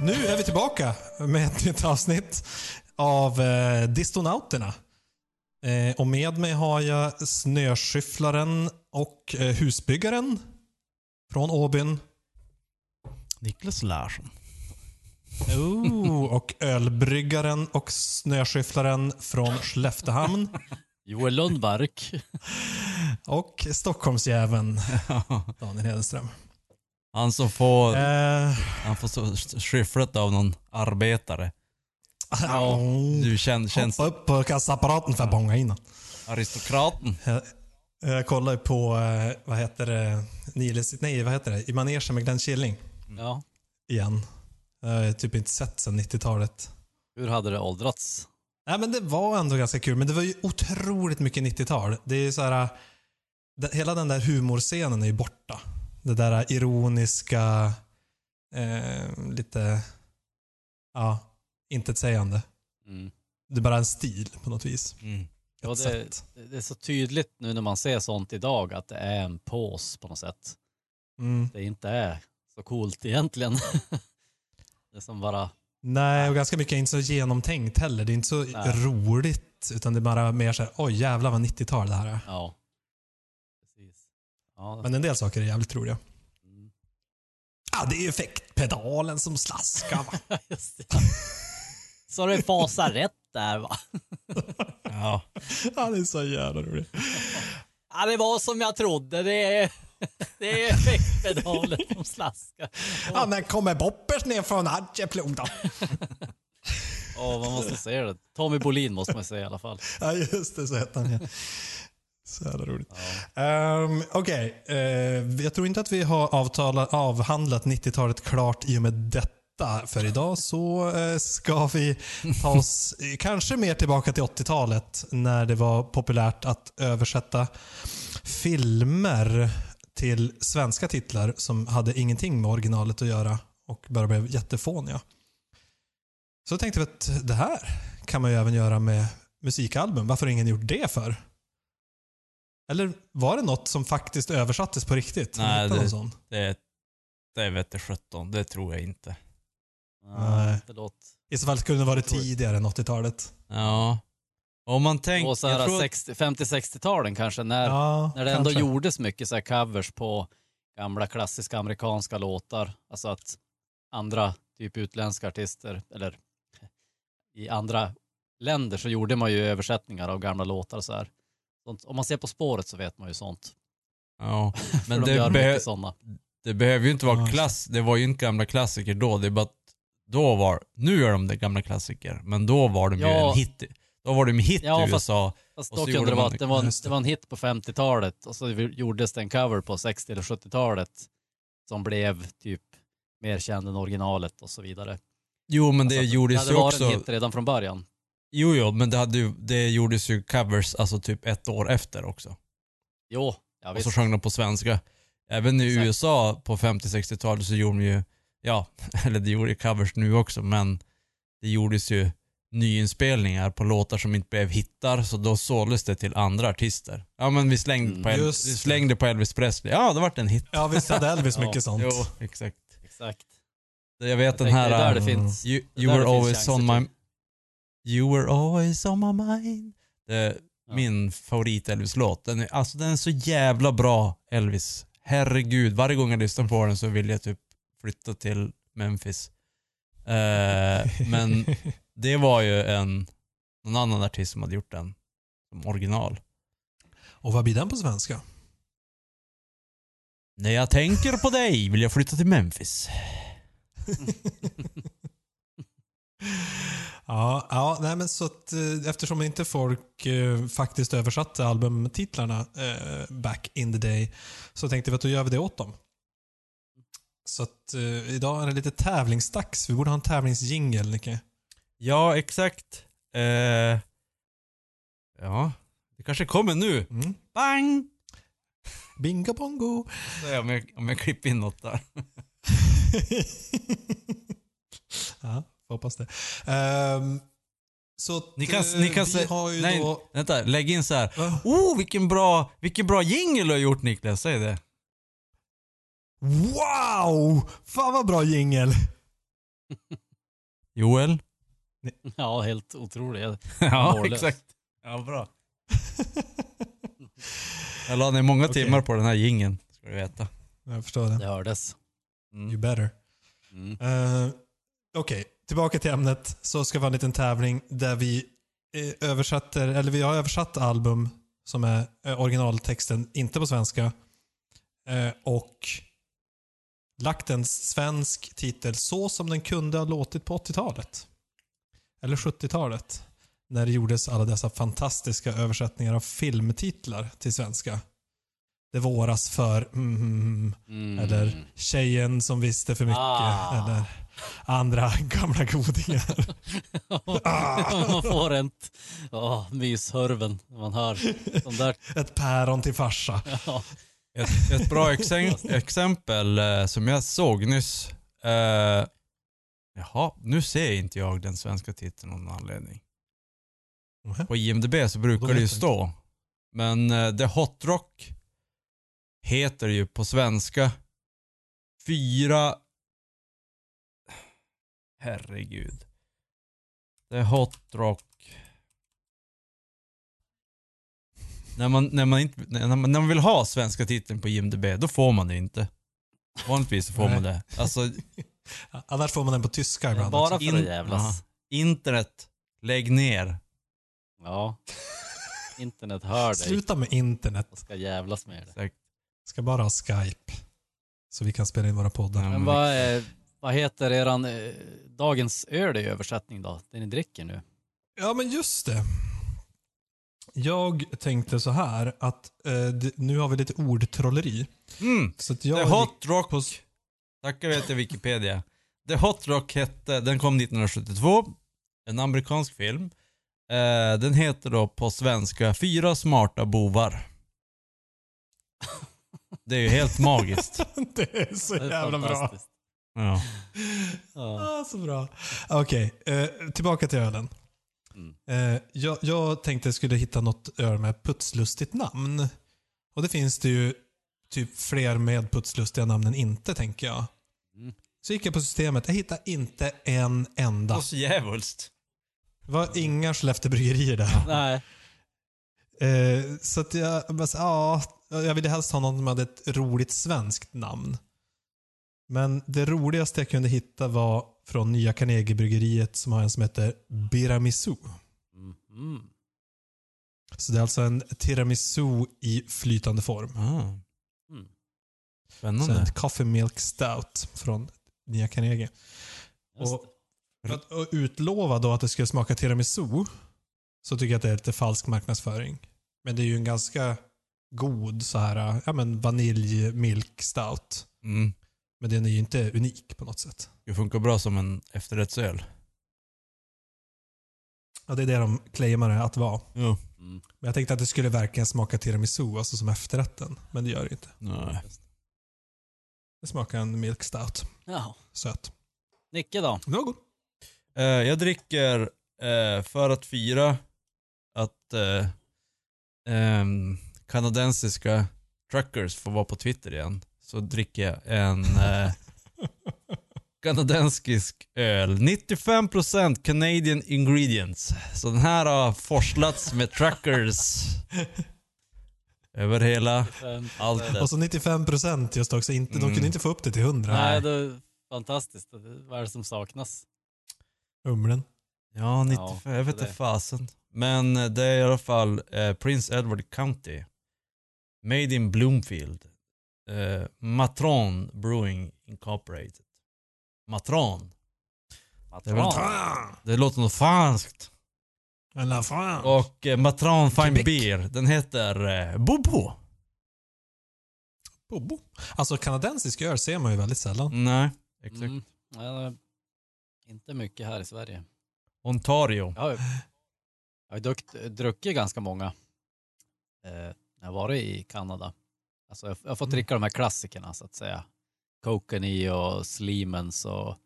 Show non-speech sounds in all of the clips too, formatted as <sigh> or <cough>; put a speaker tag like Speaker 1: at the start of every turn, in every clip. Speaker 1: Nu är vi tillbaka med ett nytt avsnitt av eh, Distonauterna. Eh, och med mig har jag snöskyfflaren och eh, husbyggaren från Åbyn.
Speaker 2: Niklas Larsson.
Speaker 1: Oh, och ölbryggaren och snöskyfflaren från Skelleftehamn.
Speaker 3: Joel Lundmark.
Speaker 1: Och Stockholmsjäveln Daniel Hedenström.
Speaker 2: <laughs> Han som får,
Speaker 1: Eh,
Speaker 2: han får så- skyfflet av någon arbetare. Du känner, känns
Speaker 1: Hoppa upp på kassaapparaten för att bonga in honom.
Speaker 2: aristokraten.
Speaker 1: Jag, jag kollar ju på, eh, vad heter det, Niles, nej vad heter det, i manegen med Glenn Killing
Speaker 3: Ja.
Speaker 1: igen. Jag har ju typ inte sett sedan 90-talet.
Speaker 3: Hur hade det åldrats?
Speaker 1: Nej men det var ändå ganska kul, men det var ju otroligt mycket 90-tal. Det är ju så här, eh, den- hela den där humorscenen är ju borta. Det där äh, ironiska, eh, lite, ja, intetsägande.
Speaker 3: Mm.
Speaker 1: Det är bara en stil på något vis.
Speaker 2: Mm.
Speaker 3: Ja,
Speaker 1: Ett
Speaker 3: det,
Speaker 1: sätt.
Speaker 3: det är så tydligt nu när man ser sånt idag att det är en pås på något sätt.
Speaker 1: Mm.
Speaker 3: Det inte är så coolt egentligen. <laughs> det är som bara,
Speaker 1: Nej, och ganska mycket är inte så genomtänkt heller. Det är inte så
Speaker 3: Nej.
Speaker 1: roligt, utan det är bara mer så här, oj jävlar vad 90-tal det här är.
Speaker 3: ja. Precis. Ja,
Speaker 1: Men en del saker är jävligt roliga.
Speaker 3: mm.
Speaker 1: Ja, det är ju effektpedalen som slaskar. va?
Speaker 3: <laughs> Just det. Så det fasar rätt där va?
Speaker 2: Ja.
Speaker 1: <laughs> ja, det är så jävla roligt.
Speaker 3: Ja, det var som jag trodde. Det är, det är effektpedalen som slaskar.
Speaker 1: Ja, när kommer Boppers ner från Adjeploda?
Speaker 3: Åh, man måste se det. Tommy Bolin måste man säga i alla fall.
Speaker 1: <laughs> Ja, just det, så hette han ja. Så jävla roligt. Ehm, Okej, eh, jag tror inte att vi har avtalat, avhandlat 90-talet klart i och med detta. För idag så eh, ska vi ta <laughs> oss eh, kanske mer tillbaka till 80-talet när det var populärt att översätta filmer till svenska titlar som hade ingenting med originalet att göra och bara blev jättefåniga. Så tänkte vi att det här kan man ju även göra med musikalbum. Varför har ingen gjort det för? Eller var det något som faktiskt översattes på riktigt? Har ni
Speaker 2: Nej,
Speaker 1: hittat någon
Speaker 2: det-
Speaker 1: sån?
Speaker 2: Det, det vete sjutton, det tror jag inte.
Speaker 1: Nej.
Speaker 3: Det låter...
Speaker 1: I så fall skulle det varit
Speaker 3: Jag tror-
Speaker 1: tidigare än 80-talet.
Speaker 2: Ja. Om man tänker...
Speaker 3: Och så här
Speaker 2: jag tror att-
Speaker 3: 60 50-60-talen kanske, när,
Speaker 1: Ja,
Speaker 3: när det
Speaker 1: kanske.
Speaker 3: ändå gjordes mycket så här covers på gamla klassiska amerikanska låtar. Alltså att andra, typ utländska artister, eller <laughs> i andra länder så gjorde man ju översättningar av gamla låtar och så här. Sånt, om man ser På spåret så vet man ju sånt. <laughs>
Speaker 2: Ja. <laughs> Men
Speaker 3: Men de
Speaker 2: det,
Speaker 3: gör
Speaker 2: be,
Speaker 3: mycket sådana.
Speaker 2: det behöver ju inte vara
Speaker 1: Ja.
Speaker 2: klass... Det var ju inte gamla klassiker då. Det är bara att då var... Nu är de det gamla klassiker, men då var de ju
Speaker 3: Ja.
Speaker 2: en hit. i- Då var de en hit
Speaker 3: Ja,
Speaker 2: i
Speaker 3: fast-
Speaker 2: USA.
Speaker 3: Fast
Speaker 2: Och
Speaker 3: då
Speaker 2: så
Speaker 3: kunde
Speaker 2: gjorde
Speaker 3: det vara
Speaker 2: man-
Speaker 3: att det var, en,
Speaker 1: just det.
Speaker 3: det var en hit på 50-talet och så gjordes det en cover på 60 eller 70-talet som blev typ mer känd än originalet och så vidare.
Speaker 2: Jo, men det
Speaker 3: Alltså,
Speaker 2: gjordes ju
Speaker 3: hade varit
Speaker 2: också...
Speaker 3: en hit redan från början.
Speaker 2: Jo, jo, men det, hade ju, det gjordes ju covers alltså typ ett år efter också.
Speaker 3: Jo, ja,
Speaker 2: Och
Speaker 3: visst.
Speaker 2: så sjöng de på svenska. Även i
Speaker 3: Exakt.
Speaker 2: USA på 50-60-talet så gjorde de ju, ja, <laughs> eller det gjorde ju covers nu också, men det gjordes ju nyinspelningar på låtar som inte blev hittar, så då såldes det till andra artister. Ja, men vi slängde,
Speaker 3: Mm.
Speaker 2: på, El- vi
Speaker 1: Just det.
Speaker 2: slängde på Elvis Presley. Ja, det vart en hit.
Speaker 1: Ja, visst hade Elvis
Speaker 3: <laughs> Ja.
Speaker 1: mycket sånt.
Speaker 2: Jo, exakt.
Speaker 3: Exakt.
Speaker 2: Jag vet
Speaker 3: Jag
Speaker 2: den
Speaker 3: tänkte,
Speaker 2: här... uh,
Speaker 3: det är där det
Speaker 1: äh,
Speaker 3: finns.
Speaker 2: You,
Speaker 3: Det
Speaker 2: you
Speaker 3: där
Speaker 2: were
Speaker 3: det finns
Speaker 2: always
Speaker 3: chanser
Speaker 2: on
Speaker 3: till.
Speaker 2: my... You were always on my mind. Det är
Speaker 3: Ja.
Speaker 2: min favorit Elvis-låt. Den är, alltså den är så jävla bra, Elvis. Herregud, varje gång jag lyssnar på den så vill jag typ flytta till Memphis. <laughs> Eh, men det var ju en, någon annan artist som hade gjort den som original.
Speaker 1: <laughs> Och vad blir den på svenska?
Speaker 2: När jag tänker på dig vill jag flytta till Memphis.
Speaker 1: <laughs> Ja, ja nej men så att eh, eftersom inte folk eh, faktiskt översatte albumtitlarna eh, back in the day så tänkte vi att då gör vi det åt dem. Så att eh, idag är det lite tävlingsdags. Vi borde ha en tävlingsjingel, Nicke.
Speaker 2: Ja, exakt. Eh, ja, det kanske kommer nu.
Speaker 1: Mm.
Speaker 2: Bang!
Speaker 1: Bingo bongo. <laughs>
Speaker 2: Nej, om, jag, om jag klipper in något där.
Speaker 1: ja, får hoppas det. Ehm, så att,
Speaker 2: Ni kan-
Speaker 1: eh,
Speaker 2: ni kan
Speaker 1: vi
Speaker 2: se-
Speaker 1: har ju
Speaker 2: nej.
Speaker 1: då...
Speaker 2: Vänta, lägg in så här.
Speaker 1: Va?
Speaker 2: Oh, vilken bra, vilken bra jingle du har gjort Niklas, säg det.
Speaker 1: Wow! Fan vad bra jingel!
Speaker 2: Joel? <laughs>
Speaker 3: Ja, helt otroligt. Jag-
Speaker 2: Ja,
Speaker 3: Mållös.
Speaker 2: exakt. Ja, bra. <laughs> Jag la ner många
Speaker 1: Okej.
Speaker 2: timmar på den här gingen ska du veta.
Speaker 1: Jag förstår det.
Speaker 3: Det hördes.
Speaker 1: You better.
Speaker 3: Mm.
Speaker 1: Eh, Okej, tillbaka till ämnet. Så ska det vara en liten tävling där vi eh, översätter, eller vi har översatt album som är eh, originaltexten, inte på svenska. eh, och lagt en svensk titel så som den kunde ha låtit på 80-talet. Eller 70-talet. När det gjordes alla dessa fantastiska översättningar av filmtitlar till svenska. Det våras för mm, mm, mm,
Speaker 3: Mm.
Speaker 1: eller tjejen som visste för mycket.
Speaker 3: Ah.
Speaker 1: Eller andra <laughs> gamla godingar.
Speaker 3: <laughs> man får en t- oh, myshörven när man hör de där.
Speaker 1: Ett päron till farsa.
Speaker 3: Ja.
Speaker 2: Ett, ett bra exen- exempel eh, som jag såg nyss. Eh, jaha, nu ser inte jag den svenska titeln av någon anledning.
Speaker 1: Mhm.
Speaker 2: På IMDB så
Speaker 1: Då
Speaker 2: brukar
Speaker 1: vet
Speaker 2: det ju
Speaker 1: jag
Speaker 2: stå. Men eh, The Hot Rock heter ju på svenska fyra... Herregud. The Hot Rock. När man, när, man inte, när, man, när man vill ha svenska titeln på IMDB, då får man det inte. Vanligtvis så får man det. Alltså,
Speaker 1: Annars får man den på tyska ibland.
Speaker 3: Bara
Speaker 1: också.
Speaker 3: för att jävlas.
Speaker 2: internet, lägg ner.
Speaker 3: Ja. Internet hör dig
Speaker 1: Sluta med internet.
Speaker 3: och ska jävlas med det.
Speaker 2: Exakt.
Speaker 1: Ska bara ha Skype. Så vi kan spela in våra poddar.
Speaker 2: Ja,
Speaker 3: Men vad, eh, vad heter eran eh, dagens öl i översättning då? Det ni dricker nu?
Speaker 1: Ja, men just det. Jag tänkte så här att eh, d- nu har vi lite ordtrolleri.
Speaker 2: Mm.
Speaker 1: Så att
Speaker 2: The
Speaker 1: jag...
Speaker 2: Hot Rock, tackar vi till Wikipedia. The Hot Rock hette, den kom 1972, en amerikansk film. Eh, den heter då på svenska Fyra smarta bovar. Det är ju helt magiskt.
Speaker 1: <laughs> det är så
Speaker 2: <laughs>
Speaker 3: Det är
Speaker 1: jävla bra.
Speaker 3: fantastiskt.
Speaker 2: Ja.
Speaker 3: Ja.
Speaker 1: Ah, så bra. Okej, eh, tillbaka till ölen.
Speaker 3: Mm.
Speaker 1: Eh, jag, jag tänkte jag skulle hitta något öl med putslustigt namn. Och det finns det ju typ fler med putslustiga namn än inte, tänker jag.
Speaker 3: Mm.
Speaker 1: Så gick jag på systemet. Jag hittade inte en enda.
Speaker 2: Och så djävulskt.
Speaker 1: Det var inga Skellefteåbryggerier där.
Speaker 3: Nej.
Speaker 1: Eh, så att jag bara, så, ja, jag ville helst ha någon som hade ett roligt svenskt namn. Men det roligaste jag kunde hitta var från Nya Carnegiebryggeriet som har en som heter Biramisu.
Speaker 3: Mm. Mm.
Speaker 1: Så det är alltså en tiramisu i flytande form.
Speaker 2: Ah.
Speaker 3: Mm.
Speaker 1: Så en
Speaker 2: Spännande.
Speaker 1: coffee milk stout från Nya Carnegie.
Speaker 3: Just
Speaker 1: Och-
Speaker 3: det.
Speaker 1: För att att utlova då att det skulle smaka tiramisu så tycker jag att det är lite falsk marknadsföring. Men det är ju en ganska god så här, ja men vanilj milk stout.
Speaker 2: Mm.
Speaker 1: Men den är ju inte unik på något sätt.
Speaker 2: Det funkar bra som en efterrättsöl.
Speaker 1: Ja, det är det de claimar det att vara.
Speaker 2: Ja.
Speaker 3: Mm.
Speaker 1: Men jag tänkte att det skulle verkligen smaka tiramisu, alltså som efterrätten. Men det gör det inte.
Speaker 2: Nej.
Speaker 1: Det smakar en milk stout.
Speaker 3: Ja.
Speaker 1: Söt.
Speaker 3: Nicke då?
Speaker 1: Det var
Speaker 3: <laughs>
Speaker 1: god.
Speaker 2: Eh, jag dricker eh, för att fira att eh, ehm, kanadensiska truckers får vara på Twitter igen. Så dricker jag en eh, kanadensisk öl. 95% Canadian ingredients. Så den här har forslats med truckers över hela
Speaker 3: Ehm,
Speaker 2: alltet.
Speaker 1: Och så 95 procent just också. Inte, De
Speaker 2: Mm.
Speaker 1: kunde inte få upp det till 100.
Speaker 3: Nej, det är fantastiskt. Vad är det som saknas?
Speaker 1: Humlen.
Speaker 2: Ja, 95,
Speaker 3: Ja,
Speaker 2: jag vet
Speaker 3: det.
Speaker 2: inte fasen. Men eh, det är i alla fall eh, Prince Edward County. Made in Bloomfield. Eh, Matron Brewing Incorporated. Matron. Det är väl-
Speaker 3: Matran.
Speaker 2: Det låter något franskt.
Speaker 1: En la France.
Speaker 2: Och eh, Matron Fine
Speaker 1: Quebec.
Speaker 2: Beer, den heter eh, Bobo.
Speaker 1: Bobo. Alltså kanadensisk öl ser man ju väldigt sällan.
Speaker 2: Nej, exakt.
Speaker 3: Mm. Nej, det är Inte mycket här i Sverige.
Speaker 2: Ontario.
Speaker 3: Jag har ju, jag har ju dukt, druckit ganska många eh, när jag varit i Kanada. Alltså jag, jag har
Speaker 2: Mm.
Speaker 3: fått dricka de här klassikerna så att säga. Kokanee och Slimens och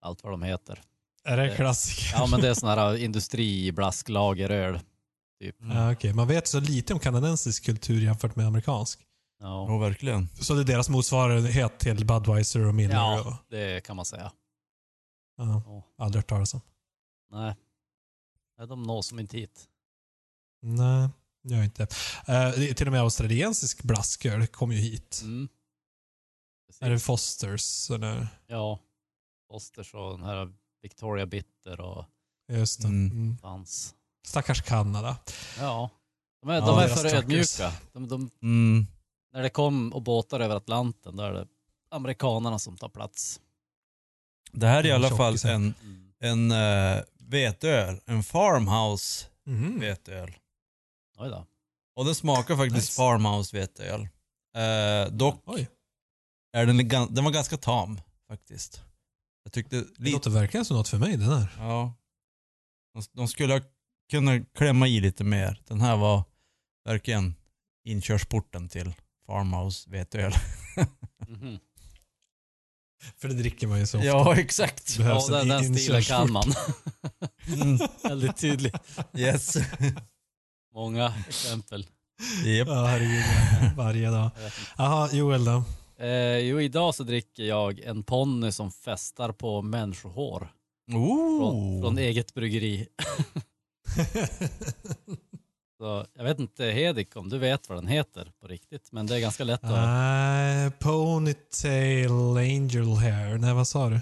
Speaker 3: allt vad de heter.
Speaker 1: Är det
Speaker 3: Eh,
Speaker 1: klassiker?
Speaker 3: Ja men det är sådana
Speaker 2: <laughs>
Speaker 3: här industriblasklageröl.
Speaker 1: <laughs>
Speaker 3: typ.
Speaker 2: Mm.
Speaker 1: Ja, Okej, man vet så lite om kanadensisk kultur jämfört med amerikansk.
Speaker 3: Ja,
Speaker 2: Jo, verkligen.
Speaker 1: Så det är deras motsvarighet till Budweiser och Miller?
Speaker 3: Ja.
Speaker 1: Och,
Speaker 3: det kan man säga.
Speaker 1: Ja,
Speaker 3: Ja.
Speaker 1: aldrig hört talas om.
Speaker 3: Nej. Nej, de når som inte hit.
Speaker 1: Nej, det gör jag inte. Eh, det är till och med australiensisk blasköl kom ju hit.
Speaker 3: Mm.
Speaker 1: Är det Fosters? Eller?
Speaker 3: Ja. Osters och den här Victoria Bitter och
Speaker 1: Just det.
Speaker 2: Mm.
Speaker 1: Mm.
Speaker 3: fanns.
Speaker 1: Stackars Kanada.
Speaker 3: Ja. De är,
Speaker 2: Ja,
Speaker 3: de är
Speaker 1: deras
Speaker 3: för
Speaker 1: truckers.
Speaker 3: ödmjuka. De, de,
Speaker 2: Mm.
Speaker 3: när det kom och båtar över Atlanten, då är det amerikanerna som tar plats.
Speaker 2: Det här är i
Speaker 1: Mm,
Speaker 2: alla fall
Speaker 1: tjockisen.
Speaker 2: en,
Speaker 3: Mm.
Speaker 2: en eh, veteöl. En farmhouse
Speaker 1: Mm.
Speaker 2: veteöl.
Speaker 3: Oj då.
Speaker 2: Och den smakar faktiskt
Speaker 1: Nice.
Speaker 2: farmhouse veteöl. Eh, dock
Speaker 1: Oj,
Speaker 2: är den, gan- den var ganska tam faktiskt. Jag tyckte
Speaker 1: det
Speaker 2: lite...
Speaker 1: låter verkligen som något för mig det där.
Speaker 2: Ja. De, de skulle ha kunnat klämma i lite mer. Den här var verkligen inkörsporten till farmhouse veteöl.
Speaker 3: Mhm.
Speaker 1: För det dricker man ju så ofta.
Speaker 2: Ja, exakt.
Speaker 1: Det behövs
Speaker 3: Ja, den,
Speaker 1: en
Speaker 3: den
Speaker 1: in-
Speaker 3: stilen
Speaker 1: inkörsport. <laughs>
Speaker 3: kan man.
Speaker 2: Mm.
Speaker 3: Väldigt tydligt.
Speaker 2: <laughs> Yes.
Speaker 3: Många exempel.
Speaker 2: Yep.
Speaker 1: Ja, herregud. Varje dag.
Speaker 3: Jag vet inte.
Speaker 1: Jaha, Joel <laughs> då?
Speaker 3: Eh, jo, idag så dricker jag en ponny som festar på människohår från,
Speaker 1: Oh.
Speaker 3: från eget bryggeri. Så, jag vet inte, Hedik, om du vet vad den heter på riktigt, men det är ganska lätt att...
Speaker 1: Nej, ponytail angel hair. Nej, vad sa du?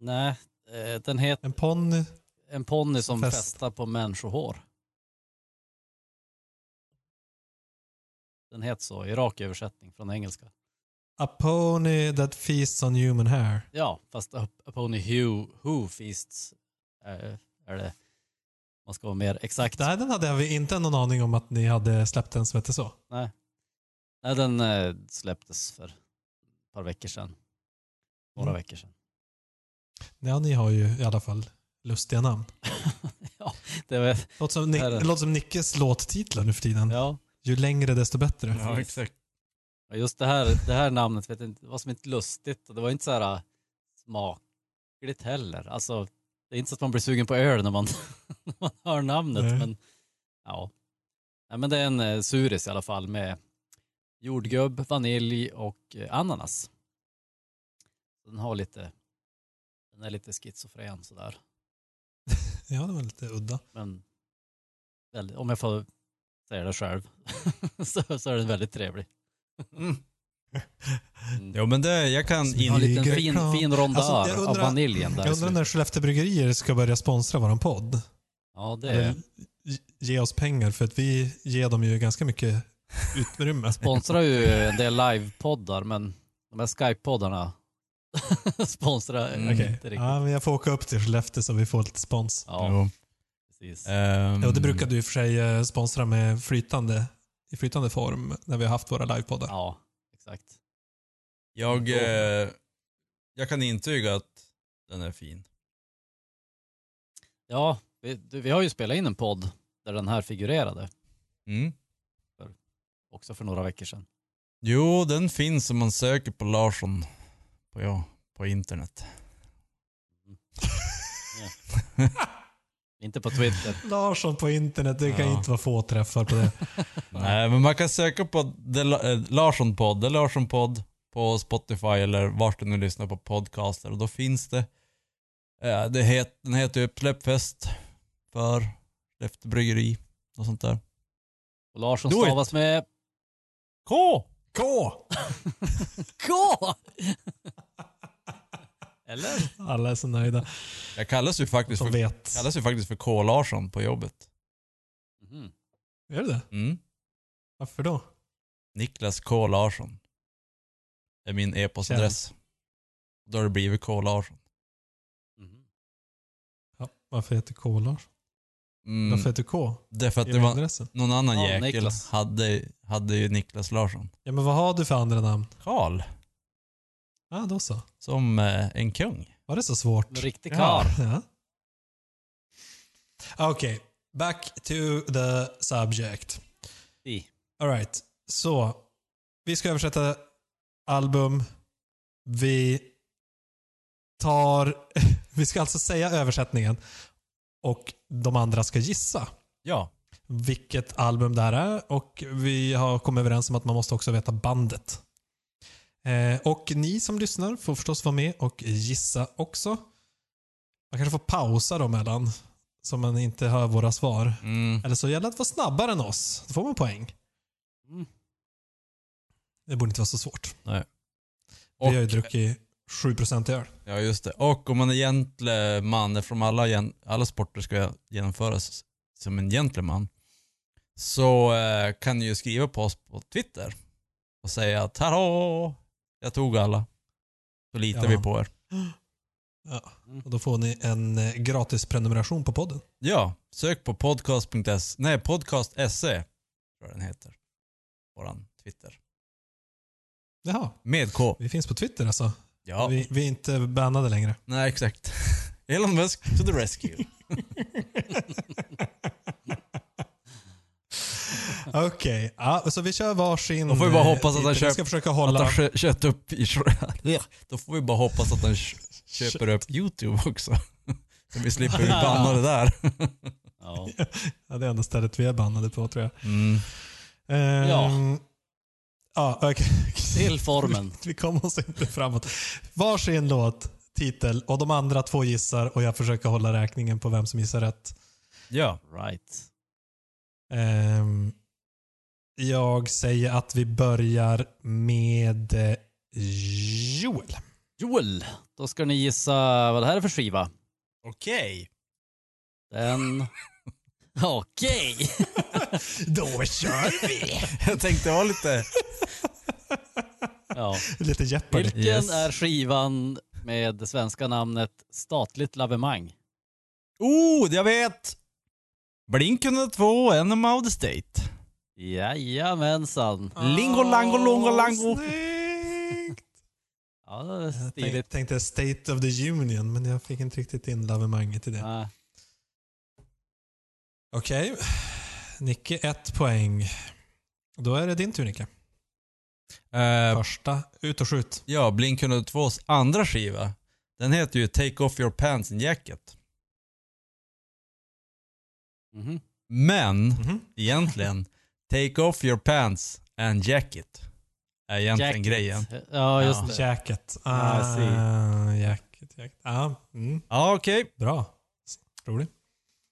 Speaker 3: Nej, eh, den heter
Speaker 1: En ponny?
Speaker 3: en ponny som
Speaker 1: Fest.
Speaker 3: festar på människohår. Den heter så i rak översättning från engelska.
Speaker 1: A pony that feasts on human hair.
Speaker 3: Ja, fast a, a pony who, who feasts eh, är det. Man ska vara mer exakt.
Speaker 1: Nej, den hade jag inte någon aning om att ni hade släppt en som hette så.
Speaker 3: Nej, den eh, släpptes för ett par veckor sedan. Några
Speaker 1: Mm.
Speaker 3: veckor sedan.
Speaker 1: Ja, ni har ju i alla fall lustiga namn.
Speaker 3: Det var,
Speaker 1: Låter som, Ni-
Speaker 3: Är det?
Speaker 1: det låter som Nickes låttitlar nu för tiden.
Speaker 3: ja.
Speaker 1: Ju längre desto bättre.
Speaker 2: Ja, exakt.
Speaker 3: Och Just det här, det här namnet, vet jag inte, det var som inte lustigt och det var inte så här äh, smakligt heller. Alltså, det är inte så att man blir sugen på öl när man, <laughs> när man hör namnet,
Speaker 1: Nej.
Speaker 3: men ja. Nej, men det är en eh, suris i alla fall med jordgubb, vanilj och eh, ananas. Den har lite, den är lite schizofren sådär,
Speaker 1: Ja, det var lite udda.
Speaker 3: men väldigt, om jag får säga det själv <laughs> så, så är den väldigt trevlig.
Speaker 2: Mm.
Speaker 3: Mm.
Speaker 2: Jo, men det, jag kan
Speaker 3: Ja, en
Speaker 2: in...
Speaker 3: liten fin,
Speaker 1: Smygreklam.
Speaker 3: fin rondör
Speaker 1: Alltså, jag
Speaker 3: av
Speaker 1: undrar-
Speaker 3: vaniljen där. i
Speaker 1: Jag undrar när
Speaker 3: slutet.
Speaker 1: Skellefteå Bryggerier ska börja sponsra våran podd.
Speaker 3: Ja, det
Speaker 1: Eller
Speaker 3: är...
Speaker 1: ge- ge oss pengar, för att vi ger dem ju ganska mycket
Speaker 3: <laughs>
Speaker 1: utrymme.
Speaker 3: sponsrar ju en del livepoddar, men de här Skype-poddarna <laughs> sponsrar
Speaker 2: Mm.
Speaker 3: inte
Speaker 1: Okej.
Speaker 3: riktigt.
Speaker 1: Ja, men jag får åka upp till Skellefteå så vi får lite spons.
Speaker 3: Ja, mm.
Speaker 2: Jo.
Speaker 3: precis.
Speaker 2: Ehm,
Speaker 1: Ja, och det brukar du i och för sig eh, sponsra med flytande, i flytande form när vi har haft våra livepoddar.
Speaker 3: Ja, exakt.
Speaker 2: Jag, eh, jag kan intyga att den är fin.
Speaker 3: Ja, vi, du, vi har ju spelat in en podd där den här figurerade,
Speaker 2: Mm.
Speaker 3: också för några veckor sedan.
Speaker 2: Jo, den finns om man söker på Larsson på, ja, på internet.
Speaker 3: Inte
Speaker 1: <laughs>
Speaker 3: på Twitter.
Speaker 1: Larsson på internet, det kan
Speaker 2: Ja.
Speaker 1: inte vara få träffar på
Speaker 3: <laughs>
Speaker 1: det.
Speaker 2: Nej, men man kan söka på The La- eh, Larsson podd, The Larsson podd på Spotify eller vart du nu lyssnar på podcaster och då finns det. Eh, det het, den heter ju Släppfest för Skellefteå Bryggeri och sånt där.
Speaker 3: Och Larsson
Speaker 2: Do it.
Speaker 3: stavas med
Speaker 2: K!
Speaker 1: K! <laughs>
Speaker 3: K! Eller?
Speaker 1: Alla är så nöjda.
Speaker 2: Jag kallas ju faktiskt
Speaker 1: Som
Speaker 2: för,
Speaker 1: vet.
Speaker 2: kallas ju faktiskt för K Larsson på jobbet.
Speaker 3: Mhm.
Speaker 1: Är det det?
Speaker 2: Mm.
Speaker 1: Varför då?
Speaker 2: Niklas K Larsson. är min e-postadress. Då har det blivit K Larsson.
Speaker 3: Mhm.
Speaker 1: Ja, varför heter K Larsson?
Speaker 2: Mm.
Speaker 1: Varför heter K?
Speaker 2: Det är för att
Speaker 1: I
Speaker 2: det var
Speaker 1: adressen?
Speaker 2: någon annan
Speaker 3: Ja,
Speaker 2: jäkel
Speaker 3: Niklas.
Speaker 2: hade, hade ju Niklas Larsson.
Speaker 1: Ja, men vad har du för andra namn?
Speaker 2: Karl.
Speaker 1: Ja, då så.
Speaker 2: Som eh, en kung.
Speaker 1: Var det så svårt?
Speaker 3: En riktig
Speaker 2: Ja.
Speaker 3: karl.
Speaker 1: Ja. Ah, Okej, back to the subject.
Speaker 3: I.
Speaker 1: Alright, så vi ska översätta album. Vi tar... <laughs> Vi ska alltså säga översättningen och de andra ska gissa
Speaker 2: Ja.
Speaker 1: vilket album det här är och vi har kommit överens om att man måste också veta bandet. Eh, och ni som lyssnar får förstås vara med och gissa också. Man kanske får pausa dem mellan. Så man inte hör våra svar.
Speaker 2: Mm.
Speaker 1: Eller så gäller det att vara snabbare än oss. Då får man poäng.
Speaker 3: Mm.
Speaker 1: Det borde inte vara så svårt. Vi
Speaker 2: Och,
Speaker 1: har ju druckit 7% i öl.
Speaker 2: ja, just det. Och om man är gentleman, eftersom alla, gen- alla sporter ska genomföras som en gentleman, så eh, kan ni ju skriva på oss på Twitter och säga att hallå, jag tog alla. Så litar
Speaker 1: Ja.
Speaker 2: vi på er.
Speaker 1: Ja. Och då får ni en eh, gratis prenumeration på podden.
Speaker 2: Ja, sök på podcast.se, nej podcast.se tror jag den heter. Våran Twitter.
Speaker 1: Jaha,
Speaker 2: Med K.
Speaker 1: vi finns på Twitter alltså.
Speaker 2: Ja,
Speaker 1: Vi, vi är inte bannade längre.
Speaker 2: nej exakt. <laughs> Elon Musk to the rescue. <laughs>
Speaker 1: Okej, ja, så vi kör varsin.
Speaker 2: Då får vi bara
Speaker 1: eh,
Speaker 2: hoppas att han
Speaker 1: titel. Jag
Speaker 2: köp-
Speaker 1: ska försöka
Speaker 2: Att
Speaker 1: hålla...
Speaker 2: han kö- köpt upp i <laughs> Då får vi bara hoppas att han kö- köper upp YouTube också. <laughs> Så vi slipper <laughs> bli bannade där.
Speaker 3: Ja.
Speaker 1: Ja, det är enda stället vi är bannade på tror jag.
Speaker 2: Mm.
Speaker 1: Ehm,
Speaker 3: Ja.
Speaker 1: Ja, okej.
Speaker 3: Till formen.
Speaker 1: <laughs> Vi kommer oss inte framåt. Varsin låt, titel och de andra två gissar och jag försöker hålla räkningen på vem som gissar rätt.
Speaker 2: Ja.
Speaker 3: Right.
Speaker 1: Ehm, jag säger att vi börjar med eh, Joel.
Speaker 3: Joel, då ska ni gissa vad det här är för skiva.
Speaker 2: Okej.
Speaker 3: Den... Okej!
Speaker 1: Då kör vi!
Speaker 2: <laughs> Jag tänkte vara lite...
Speaker 3: Ja.
Speaker 1: <laughs> Lite Jeopardy.
Speaker 3: Vilken
Speaker 2: Yes.
Speaker 3: är skivan med det svenska namnet Statligt lavemang?
Speaker 2: Oh, jag vet! Blink 102, Enem of the State.
Speaker 3: Jajamensan.
Speaker 2: Lingo, lango, longo, lango. <laughs>
Speaker 1: Snyggt!
Speaker 3: Ja, det är
Speaker 1: Jag tänkte,
Speaker 3: stiligt.
Speaker 1: tänkte State of the Union, men jag fick inte riktigt in lavemanget i det.
Speaker 3: Ja.
Speaker 1: Okej. Nicke, ett poäng. Då är det din tur, Nicke.
Speaker 2: Eh,
Speaker 1: Första, ut och skjut.
Speaker 2: ja, Blink 102s andra skiva. Den heter ju Take Off Your Pants and Jacket.
Speaker 3: Mhm.
Speaker 2: Men
Speaker 1: Mhm.
Speaker 2: egentligen, Take Off Your Pants and Jacket är egentligen
Speaker 3: Jacket.
Speaker 2: grejen.
Speaker 3: Ja, just det.
Speaker 1: Jacket.
Speaker 2: Ah, I see.
Speaker 1: Ah, jacket, jacket. Ah, mm,
Speaker 2: Ja, okej.
Speaker 1: bra. Roligt.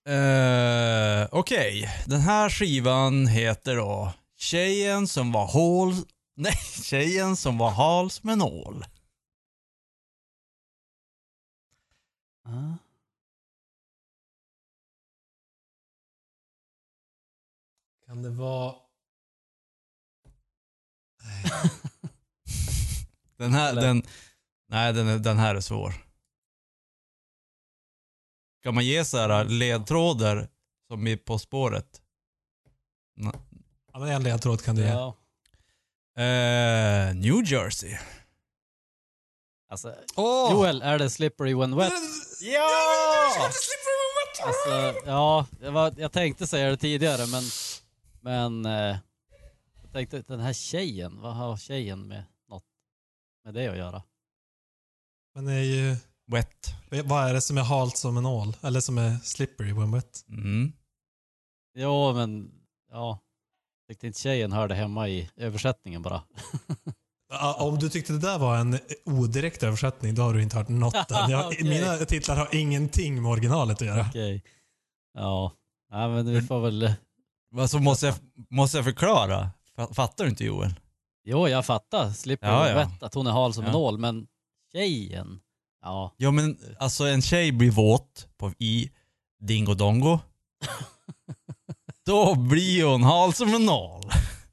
Speaker 2: Eh, Okej, den här skivan heter då Tjejen som var hål... <laughs> Nej, Tjejen som var hal som en ål.
Speaker 3: Ja.
Speaker 1: Kan det vara...
Speaker 2: Den här,
Speaker 3: Eller?
Speaker 2: den... Nej, den, är- den här är svår. Kan man ge så
Speaker 3: Mm.
Speaker 2: här ledtrådar som i På spåret?
Speaker 1: Ja, men en ledtråd kan du ge.
Speaker 3: Ja.
Speaker 2: Eh, New Jersey.
Speaker 3: Alltså,
Speaker 1: Åh!
Speaker 3: Joel, är det Slippery When Wet?
Speaker 2: Ja!
Speaker 3: Alltså, ja, jag, var, jag tänkte säga det tidigare men... Men... Eh, jag tänkte, den här tjejen, vad har tjejen med något med det att göra?
Speaker 1: Men det är ju...
Speaker 2: Wet.
Speaker 1: Vad är det som är halt som en ål? Eller som är slippery when wet?
Speaker 2: Mm.
Speaker 3: Jo, men... Ja. Tyckte inte tjejen hörde hemma i översättningen bara.
Speaker 1: Ja, om du tyckte det där var en odirekt översättning, då har du inte hört något
Speaker 3: <laughs>
Speaker 1: än. Jag,
Speaker 3: Okej.
Speaker 1: Mina titlar har ingenting med originalet att göra.
Speaker 3: Okej. Ja. ja, men vi får väl...
Speaker 2: Alltså, måste, jag, måste jag förklara? Fa- Fattar du inte Joel?
Speaker 3: Jo, jag fattar. Slipper
Speaker 2: Ja,
Speaker 3: ja,
Speaker 2: ja.
Speaker 3: att hon är hal som en
Speaker 2: Ja.
Speaker 3: ål, men tjejen? Ja.
Speaker 2: Ja men alltså en tjej blir våt på, i
Speaker 3: <laughs>
Speaker 2: Dingo Dongo. då blir hon hal som en nål.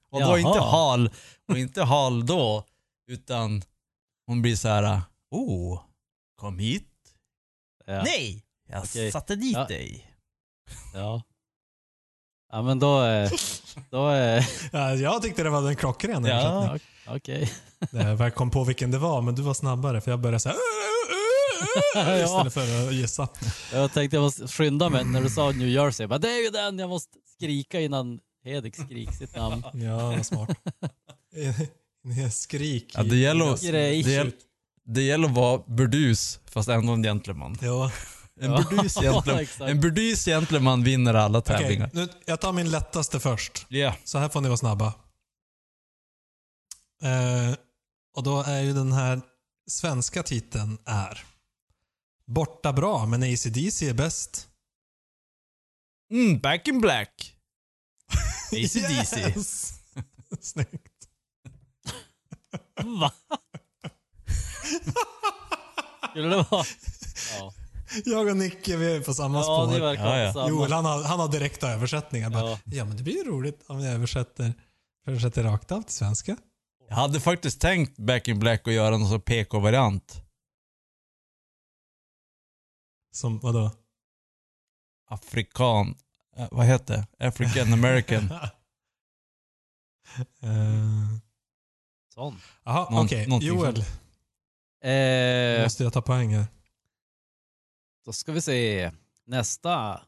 Speaker 2: Och då
Speaker 3: Jaha.
Speaker 2: inte hal, och inte hal då, utan hon blir så här, oh, kom hit.
Speaker 3: ja.
Speaker 2: Nej, jag
Speaker 3: Okej.
Speaker 2: satte dit
Speaker 3: Ja.
Speaker 2: dig.
Speaker 3: Ja. Ja men då, eh, då är...
Speaker 1: Ja, jag tyckte det var en klockren översättning.
Speaker 3: Ja, o- <laughs> okej.
Speaker 1: Nej, Jag kom på vilken det var, men du var snabbare för jag började säga
Speaker 3: <laughs> Ja.
Speaker 1: istället för att gissa.
Speaker 3: Jag tänkte jag måste skynda mig när du sa New Jersey. Jag bara, det är ju den jag måste skrika innan Hedik skriker sitt namn.
Speaker 1: Ja, vad smart.
Speaker 3: <laughs>
Speaker 1: En skrik.
Speaker 2: Ja, det gäller att-
Speaker 3: Grej.
Speaker 2: det gäller- Det gäller att vara burdus fast ändå en gentleman.
Speaker 1: Ja.
Speaker 2: En
Speaker 3: Ja, <laughs>
Speaker 2: burdus gentleman,
Speaker 3: exakt.
Speaker 2: en burdus gentleman vinner alla
Speaker 1: Okej,
Speaker 2: tävlingar.
Speaker 1: nu jag tar min lättaste först.
Speaker 2: Ja,
Speaker 1: Så här får ni vara snabba. Eh, och då är ju den här svenska titeln är Borta bra, men ACDC är bäst.
Speaker 2: Mm, Back in Black. AC/DC.
Speaker 1: Yes! Snyggt.
Speaker 3: Va? Skulle det vara? Ja,
Speaker 1: Jag och Nicke, vi är på samma
Speaker 3: ja
Speaker 1: spår.
Speaker 3: det verkar
Speaker 2: Ja, ja.
Speaker 3: samma.
Speaker 1: Joel, han har, han har direkta översättningar. Bara, ja.
Speaker 3: Ja.
Speaker 1: men det blir ju roligt om jag översätter, översätter rakt av till svenska.
Speaker 2: Jag hade faktiskt tänkt Back in Black och göra någon sån PK-variant.
Speaker 1: Som vadå?
Speaker 2: Afrikan. Eh, vad heter det?
Speaker 3: <laughs>
Speaker 2: African American.
Speaker 1: <laughs> Eh,
Speaker 3: Sån.
Speaker 1: Jaha,
Speaker 2: Någon-
Speaker 1: okej.
Speaker 2: någonting
Speaker 1: Joel,
Speaker 3: Eh,
Speaker 1: måste jag ta poäng här.
Speaker 3: då ska vi se. Nästa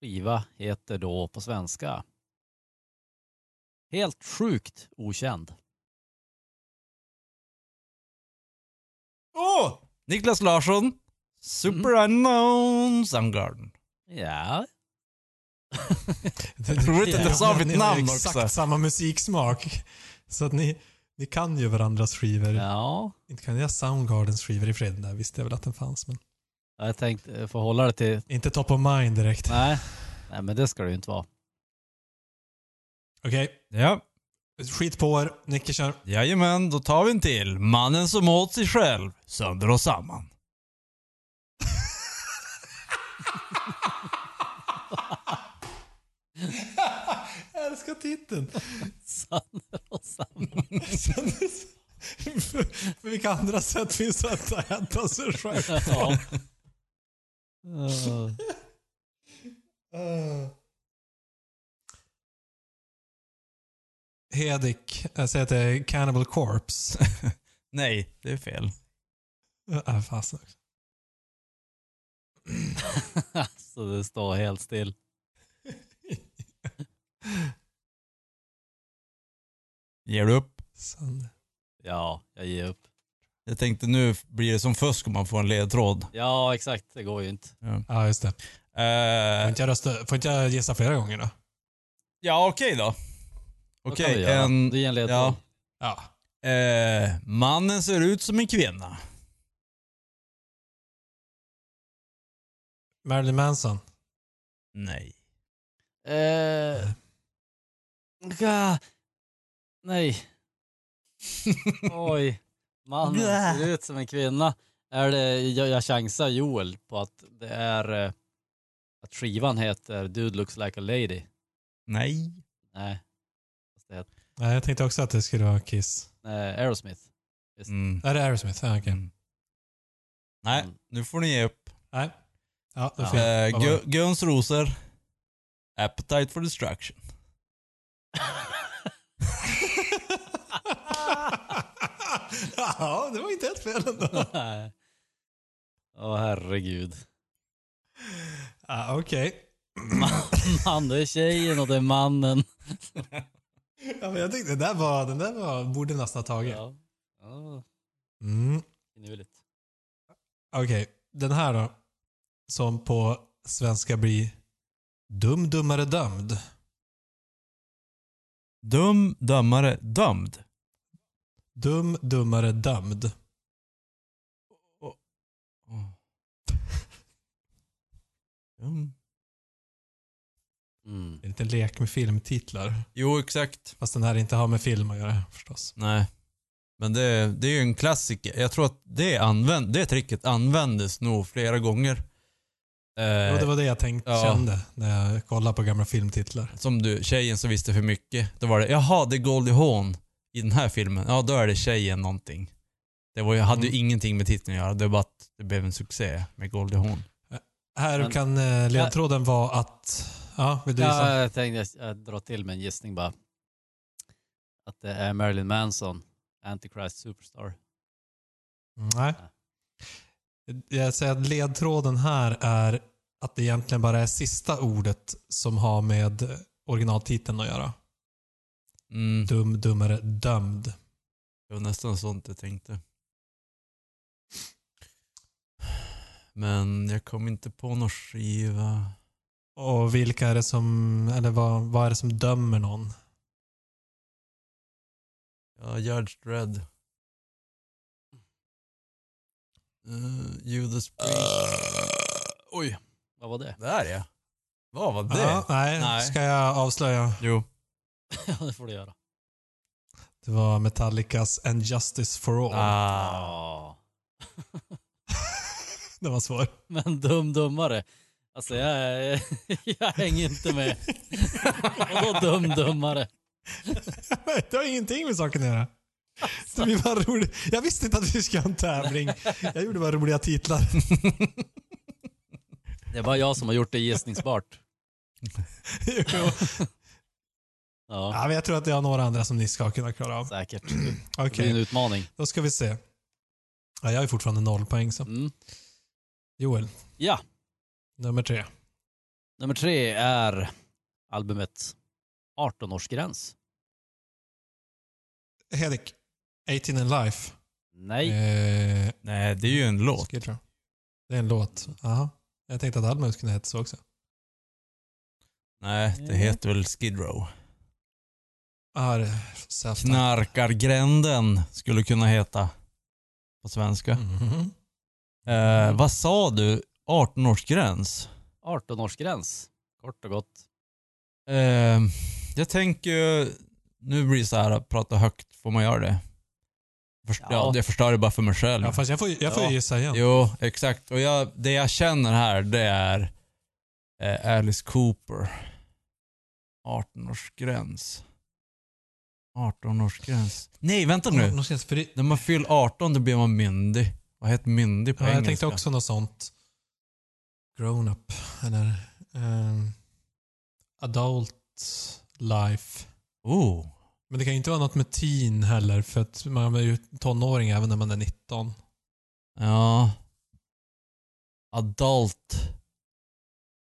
Speaker 3: skiva heter då på svenska Helt sjukt okänd.
Speaker 2: Åh! Niklas Larsson. Super
Speaker 3: Mm.
Speaker 2: Unknown Soundgarden.
Speaker 3: Ja,
Speaker 1: Jag
Speaker 2: tror inte att jag sa mitt namn
Speaker 1: Ni har ju exakt
Speaker 2: också.
Speaker 1: samma musiksmak. Så att ni, ni kan ju varandras skivor.
Speaker 3: ja.
Speaker 1: Inte kan jag Soundgardens skivor i fred. Där visste jag väl att den fanns, men
Speaker 3: jag tänkte eh, få hålla det till...
Speaker 1: inte top of mind direkt.
Speaker 3: Nej, nej men det ska det ju inte vara.
Speaker 1: Okej,
Speaker 2: Ja,
Speaker 1: skit på er. Nicke kör.
Speaker 2: jajamän. Då tar vi en till. Mannen som åt sig själv sönder och samman.
Speaker 1: Jag älskar <laughs> titeln.
Speaker 3: Sanner och Sam.
Speaker 1: För vilka andra sätt finns det att äta sig själv?
Speaker 3: Ja. Eh,
Speaker 1: Eh. Hedik, jag säger att det är Cannibal Corpse. <laughs>
Speaker 2: Nej, det är fel.
Speaker 1: Äh, fasen också.
Speaker 3: <laughs> Så det står helt still.
Speaker 2: Ger du upp?
Speaker 1: Sen-
Speaker 3: Ja, jag ger upp.
Speaker 2: Jag tänkte nu blir det som fusk om man får en ledtråd.
Speaker 3: Ja, exakt. Det går ju inte.
Speaker 1: Ja, just det. Får
Speaker 2: Eh,
Speaker 1: Äh, inte jag, rösta, får inte jag gissa flera gånger då?
Speaker 2: ja, okej då.
Speaker 3: Vad
Speaker 2: Okej,
Speaker 3: kan vi göra?
Speaker 2: en...
Speaker 3: Du ger en ledtråd.
Speaker 2: ja.
Speaker 1: Ja.
Speaker 2: Eh, mannen ser ut som en kvinna.
Speaker 1: Marilyn Manson.
Speaker 2: Nej.
Speaker 3: Eh, ga- nej. Oj. Mannen
Speaker 2: Gah.
Speaker 3: ser ut som en kvinna. Är det, jag, jag chansar Joel på att det är eh, att skivan heter Dude looks like a lady.
Speaker 2: Nej.
Speaker 3: Nej. Fast det heter,
Speaker 1: Nej, jag tänkte också att det skulle vara Kiss.
Speaker 3: nej Aerosmith.
Speaker 2: Mm.
Speaker 1: Är det Aerosmith? Ja, okej.
Speaker 2: Nej,
Speaker 3: Mm.
Speaker 2: nu får ni ge upp.
Speaker 1: Nej. Ja, då
Speaker 3: Ja.
Speaker 1: får jag.
Speaker 2: Eh, Gu- Guns Rosor. Appetite for destruction.
Speaker 1: ja, det <laughs> var inte helt fel ändå.
Speaker 3: Nej. Åh herregud.
Speaker 1: Ja, okej.
Speaker 3: Man, det är tjejen och det är mannen.
Speaker 1: Ja, men jag tyckte den där var, den där var, borde nästan ha tagit.
Speaker 3: Ja. Ja,
Speaker 1: Mm,
Speaker 3: finurligt.
Speaker 1: okej. Den här då. Som på svenska blir Dum Dummare Dömd.
Speaker 2: Dum, dömare, dömd.
Speaker 1: Dum Dummare Dömd.
Speaker 2: Dum.
Speaker 3: Mm.
Speaker 1: Det är en liten lek med filmtitlar.
Speaker 2: Jo, exakt.
Speaker 1: Fast den här inte har med film att göra förstås.
Speaker 2: Nej. Men det, det är ju en klassiker. Jag tror att det, använd, det tricket användes nog flera gånger. Eh,
Speaker 1: Ja, det var det jag tänkte,
Speaker 2: ja.
Speaker 1: kände när jag kollade på gamla filmtitlar.
Speaker 2: Som du, tjejen som visste för mycket. Då var det, jaha det är Goldie Hawn i den här filmen. Ja, då är det tjejen någonting. Det var, ju- hade ju
Speaker 1: Mm.
Speaker 2: ingenting med titeln att göra. Det var bara att det blev en succé med Goldie Hawn.
Speaker 1: Här
Speaker 3: Men-
Speaker 1: kan eh, ledtråden vara att... Ja, vill du gissa?
Speaker 2: eh.
Speaker 3: Ja, jag tänkte jag- jag drar till med en gissning bara. Att det är Marilyn Manson, Antichrist Superstar.
Speaker 1: Mm, Nej. Jag säger att ledtråden här är att det egentligen bara är sista ordet som har med originaltiteln att göra.
Speaker 2: Mm,
Speaker 1: Dum, dummare, dömd.
Speaker 2: det var nästan sånt jag tänkte. Men jag kom inte på någon skiva.
Speaker 1: Och vilka är det som, eller vad, vad är det som dömer någon?
Speaker 2: Ja, Judge Dredd. Eh, Judas Priest. Oj,
Speaker 3: Vad var det?
Speaker 2: där ja. Vad var det?
Speaker 1: Ja, nej,
Speaker 2: Nej.
Speaker 1: ska jag avslöja.
Speaker 2: Jo.
Speaker 3: Ja, det får du göra.
Speaker 1: Det var Metallicas And Justice For All.
Speaker 2: Ah.
Speaker 3: Ja.
Speaker 1: Den var svår.
Speaker 3: <laughs> Men dum dummare. Alltså jag, är- <laughs> jag hänger inte med. Vadå dum dummare?
Speaker 1: <laughs> det har ingenting med saken att göra. Det blir bara roligt. Jag visste inte att vi skulle ha en tävling. Jag gjorde bara roliga
Speaker 2: <laughs>
Speaker 1: titlar.
Speaker 3: Det är bara jag som har gjort det gissningsbart.
Speaker 1: Jo.
Speaker 3: Ja,
Speaker 1: ja, men jag tror att jag har några andra som ni ska kunna klara av.
Speaker 3: säkert. Det
Speaker 1: Mm. Okej,
Speaker 3: blir
Speaker 2: Mm.
Speaker 3: en utmaning.
Speaker 1: då ska vi se. Ja, jag är fortfarande noll poäng. Så.
Speaker 3: Mm.
Speaker 1: Joel,
Speaker 3: Ja,
Speaker 1: nummer tre.
Speaker 3: nummer tre är albumet 18-årsgräns.
Speaker 1: Hedik, 18 and Life.
Speaker 3: Nej,
Speaker 1: Eh,
Speaker 2: Nej, det är ju en låt.
Speaker 1: Skid Row. Det är en låt. Aha. Jag tänkte att albumet kunde heta så också.
Speaker 2: Nej, det
Speaker 1: Mm.
Speaker 2: heter väl Skid Row.
Speaker 1: Ah, det är Self-Titled.
Speaker 2: Knarkargränden skulle kunna heta på svenska.
Speaker 1: Mhm.
Speaker 2: Eh, vad sa du? 18-årsgräns?
Speaker 3: 18-årsgräns. Kort och gott.
Speaker 2: Eh, jag tänker ju- nu blir det så här att prata högt, får man göra det? Först, ja.
Speaker 3: Ja.
Speaker 2: jag förstör det bara för mig själv.
Speaker 1: Ja, fast jag får, jag får
Speaker 3: Ja.
Speaker 1: ju gissa igen.
Speaker 2: Jo, exakt. Och jag, det jag känner här det är eh, Alice Cooper. 18-årsgräns. 18-årsgräns. Nej, vänta nu.
Speaker 1: Nå- någonstans, för det,
Speaker 2: När man fyller 18 då blir man myndig. Vad heter myndig på
Speaker 1: ja, jag
Speaker 2: engelska?
Speaker 1: tänkte också något sånt. Grown up. Eller ehm, adult life.
Speaker 2: Oh.
Speaker 1: Men det kan ju inte vara något med teen heller för att man är ju tonåring även när man är 19.
Speaker 2: Ja. Adult.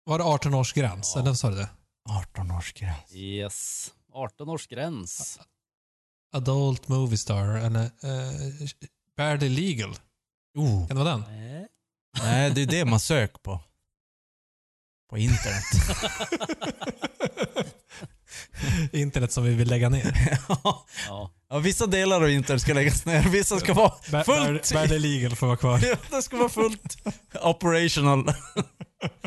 Speaker 1: Var det 18-årsgräns?
Speaker 3: Ja.
Speaker 1: Eller sa du det?
Speaker 2: 18-årsgräns.
Speaker 3: Yes, 18-årsgräns.
Speaker 1: Adult movie star. Eller eh, barely legal.
Speaker 2: Oh.
Speaker 1: Kan det vara den?
Speaker 3: Nej.
Speaker 2: Nej, det är det man söker på.
Speaker 1: <laughs>
Speaker 2: På internet.
Speaker 1: Internet som vi vill lägga ner.
Speaker 3: Ja.
Speaker 2: ja, vissa delar av internet ska läggas ner. Vissa ska vara
Speaker 1: Ba-
Speaker 2: fullt...
Speaker 1: Bar- barely legal får vara kvar.
Speaker 2: <laughs> Det ska vara fullt operational.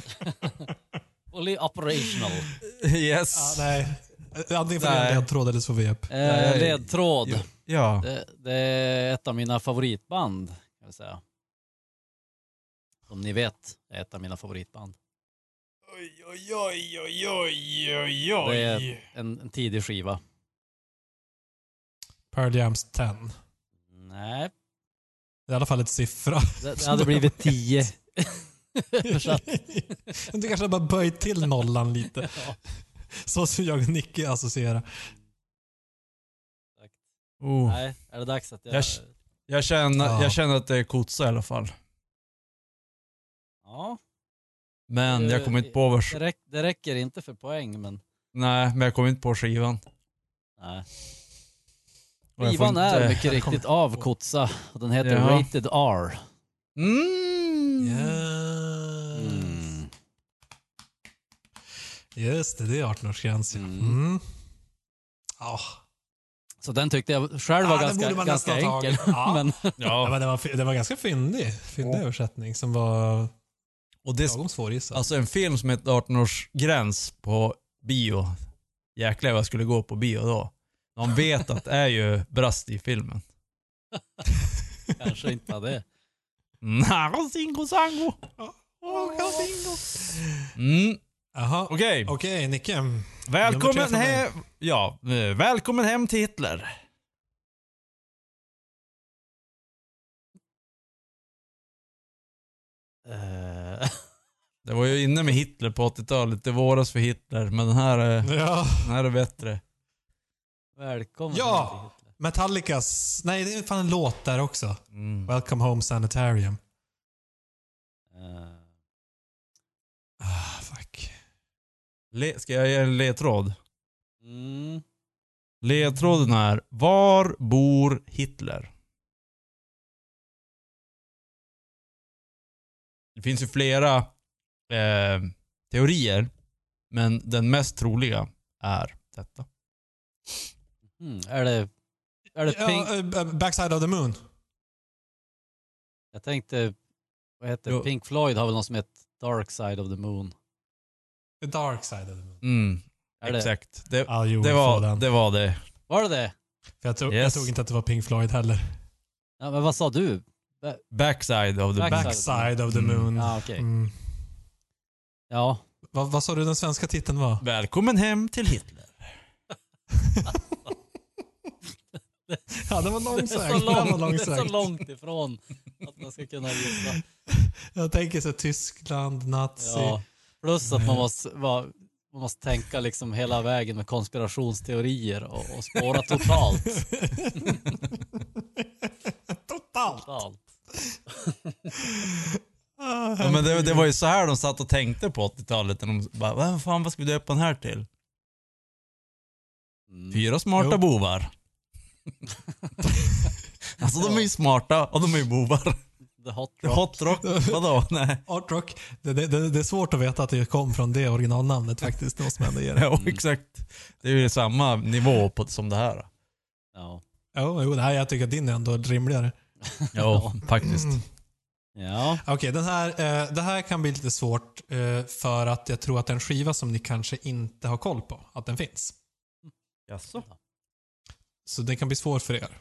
Speaker 2: <laughs>
Speaker 3: Fully operational. Eh,
Speaker 1: Ja,
Speaker 2: Yes.
Speaker 1: nej. Antingen får vi
Speaker 2: Nej.
Speaker 1: en ledtråd eller så får vi ge upp.
Speaker 3: Eh, ledtråd.
Speaker 2: Ja. Ja.
Speaker 3: Det, det är ett av mina favoritband, kan jag säga. Som ni vet, är ett av mina favoritband.
Speaker 2: Oj, oj, oj, oj, oj, oj,
Speaker 3: Det är en, en tidig skiva.
Speaker 1: Pearl Jams 10.
Speaker 3: Nej,
Speaker 1: Det är I alla fall ett siffra.
Speaker 3: det, det hade blivit tio.
Speaker 1: <laughs>
Speaker 3: Översatt.
Speaker 1: du kanske har bara böjt till nollan lite.
Speaker 3: Ja.
Speaker 1: Så som jag och Nicky associerar.
Speaker 2: Oh.
Speaker 3: Nej, är det dags att jag...
Speaker 2: Jag- Jag, känner,
Speaker 1: Ja.
Speaker 2: jag känner att det är Kotsa i alla fall.
Speaker 3: Ja,
Speaker 2: Men jag kommer inte på
Speaker 3: det,
Speaker 2: vars...
Speaker 3: räck, det räcker inte för poäng, men...
Speaker 2: Nej, men jag kommer inte på skivan.
Speaker 3: Nej.
Speaker 2: Och jag får
Speaker 3: Skivan är
Speaker 2: inte-
Speaker 3: mycket riktigt av Kotsa och den heter
Speaker 2: Jaha.
Speaker 3: Rated R.
Speaker 2: Mm.
Speaker 3: Mm.
Speaker 1: Just det, det är 18-årsgräns.
Speaker 3: Mm.
Speaker 1: Mm. Ja,
Speaker 3: Så den tyckte jag själv var
Speaker 1: Ah, den borde
Speaker 3: ganska,
Speaker 1: man
Speaker 3: ganska
Speaker 1: nästan ha
Speaker 3: enkel.
Speaker 1: tagit. Ja.
Speaker 3: Men, <laughs>
Speaker 1: Ja,
Speaker 2: Ja,
Speaker 1: men den var, fi- den var ganska fyndig. Fyndig
Speaker 2: Ja.
Speaker 1: översättning som var
Speaker 2: och det,
Speaker 1: lagom svårgissad.
Speaker 2: alltså en film som heter 18-årsgräns på bio. Jäklar vad jag skulle gå på bio då. Man vet att det är ju brast i filmen.
Speaker 3: kanske inte hade det.
Speaker 2: Narasingo sango. Mm,
Speaker 1: Jaha, okej,
Speaker 2: okej.
Speaker 1: Nicke. Nummer
Speaker 2: Välkommen
Speaker 1: tre för mig.
Speaker 2: hem. Ja, eh, välkommen hem till Hitler.
Speaker 3: Eh,
Speaker 2: <laughs> Det var ju inne med Hitler på 80-talet. Det våras för Hitler, men den här, eh,
Speaker 1: Ja.
Speaker 2: den här är bättre.
Speaker 3: välkommen.
Speaker 1: Ja! Metallicas, nej det är fan en låt där också.
Speaker 2: Mm.
Speaker 1: Welcome Home Sanitarium.
Speaker 3: Eh,
Speaker 1: Ah, fuck.
Speaker 2: Le- ska jag ge en ledtråd?
Speaker 3: Mm,
Speaker 2: Ledtråden är Var bor Hitler? Det finns ju flera eh, teorier, men den mest troliga är detta.
Speaker 3: mm, är det, är det
Speaker 1: Ja,
Speaker 3: Pink?
Speaker 1: eh, eh, backside of the Moon.
Speaker 3: Jag tänkte, vad heter det?
Speaker 2: Jo.
Speaker 3: Pink Floyd har väl något som heter Dark Side of the Moon?
Speaker 1: The dark side of the moon.
Speaker 2: Mm,
Speaker 3: Är det-
Speaker 2: exakt. Det,
Speaker 1: Ja, jo,
Speaker 2: det,
Speaker 1: få
Speaker 2: var,
Speaker 1: den.
Speaker 2: det var det.
Speaker 3: Var det det?
Speaker 1: För jag, tror,
Speaker 2: Yes.
Speaker 1: jag tror inte att det var Pink Floyd heller.
Speaker 3: Ja, men vad sa du?
Speaker 2: Backside of the
Speaker 3: Backside.
Speaker 2: back.
Speaker 1: Backside of the
Speaker 2: Mm.
Speaker 1: moon.
Speaker 3: Ja, okej.
Speaker 1: Mm.
Speaker 3: Ja,
Speaker 1: Vad, vad sa du den svenska titeln var?
Speaker 3: <laughs>
Speaker 2: Välkommen hem till Hitler.
Speaker 1: Ja, den var
Speaker 3: det är
Speaker 1: långsökt.
Speaker 3: så
Speaker 1: Den var
Speaker 3: långt, det är så
Speaker 1: långsökt.
Speaker 3: långt ifrån att man ska kunna gissa.
Speaker 1: Jag tänker så här, Tyskland, nazi.
Speaker 3: Ja. Plus att man måste, vara, man måste tänka liksom hela vägen med konspirationsteorier och, och spåra
Speaker 2: <laughs>
Speaker 3: totalt.
Speaker 1: Totalt.
Speaker 3: totalt.
Speaker 1: Ah,
Speaker 2: Ja, men det, det var ju så här de satt och tänkte på 80-talet. när De bara, vad fan vad ska vi döpa den här till?
Speaker 3: Mm.
Speaker 2: Fyra smarta
Speaker 1: Jo.
Speaker 2: bovar. alltså de är ju smarta och de är ju bovar.
Speaker 3: The hot rock.
Speaker 2: Hot rock, vadå? Nej.
Speaker 1: Art rock. Det, det, det, det är svårt att veta att det kom från det originalnamnet faktiskt. Det måste man ändå
Speaker 3: <laughs>
Speaker 1: ge det.
Speaker 2: Ja, exakt. Det är ju samma nivå på, som det här.
Speaker 3: Ja.
Speaker 1: Jo, jo, det här, jag tycker att din är ändå rimligare.
Speaker 2: Ja, faktiskt.
Speaker 1: Mm.
Speaker 3: <laughs> ja.
Speaker 1: Okej, den här, eh, det här kan bli lite svårt eh, för att jag tror att det är en skiva som ni kanske inte har koll på, att den finns.
Speaker 2: Jaså?
Speaker 1: Så den kan bli svår för er.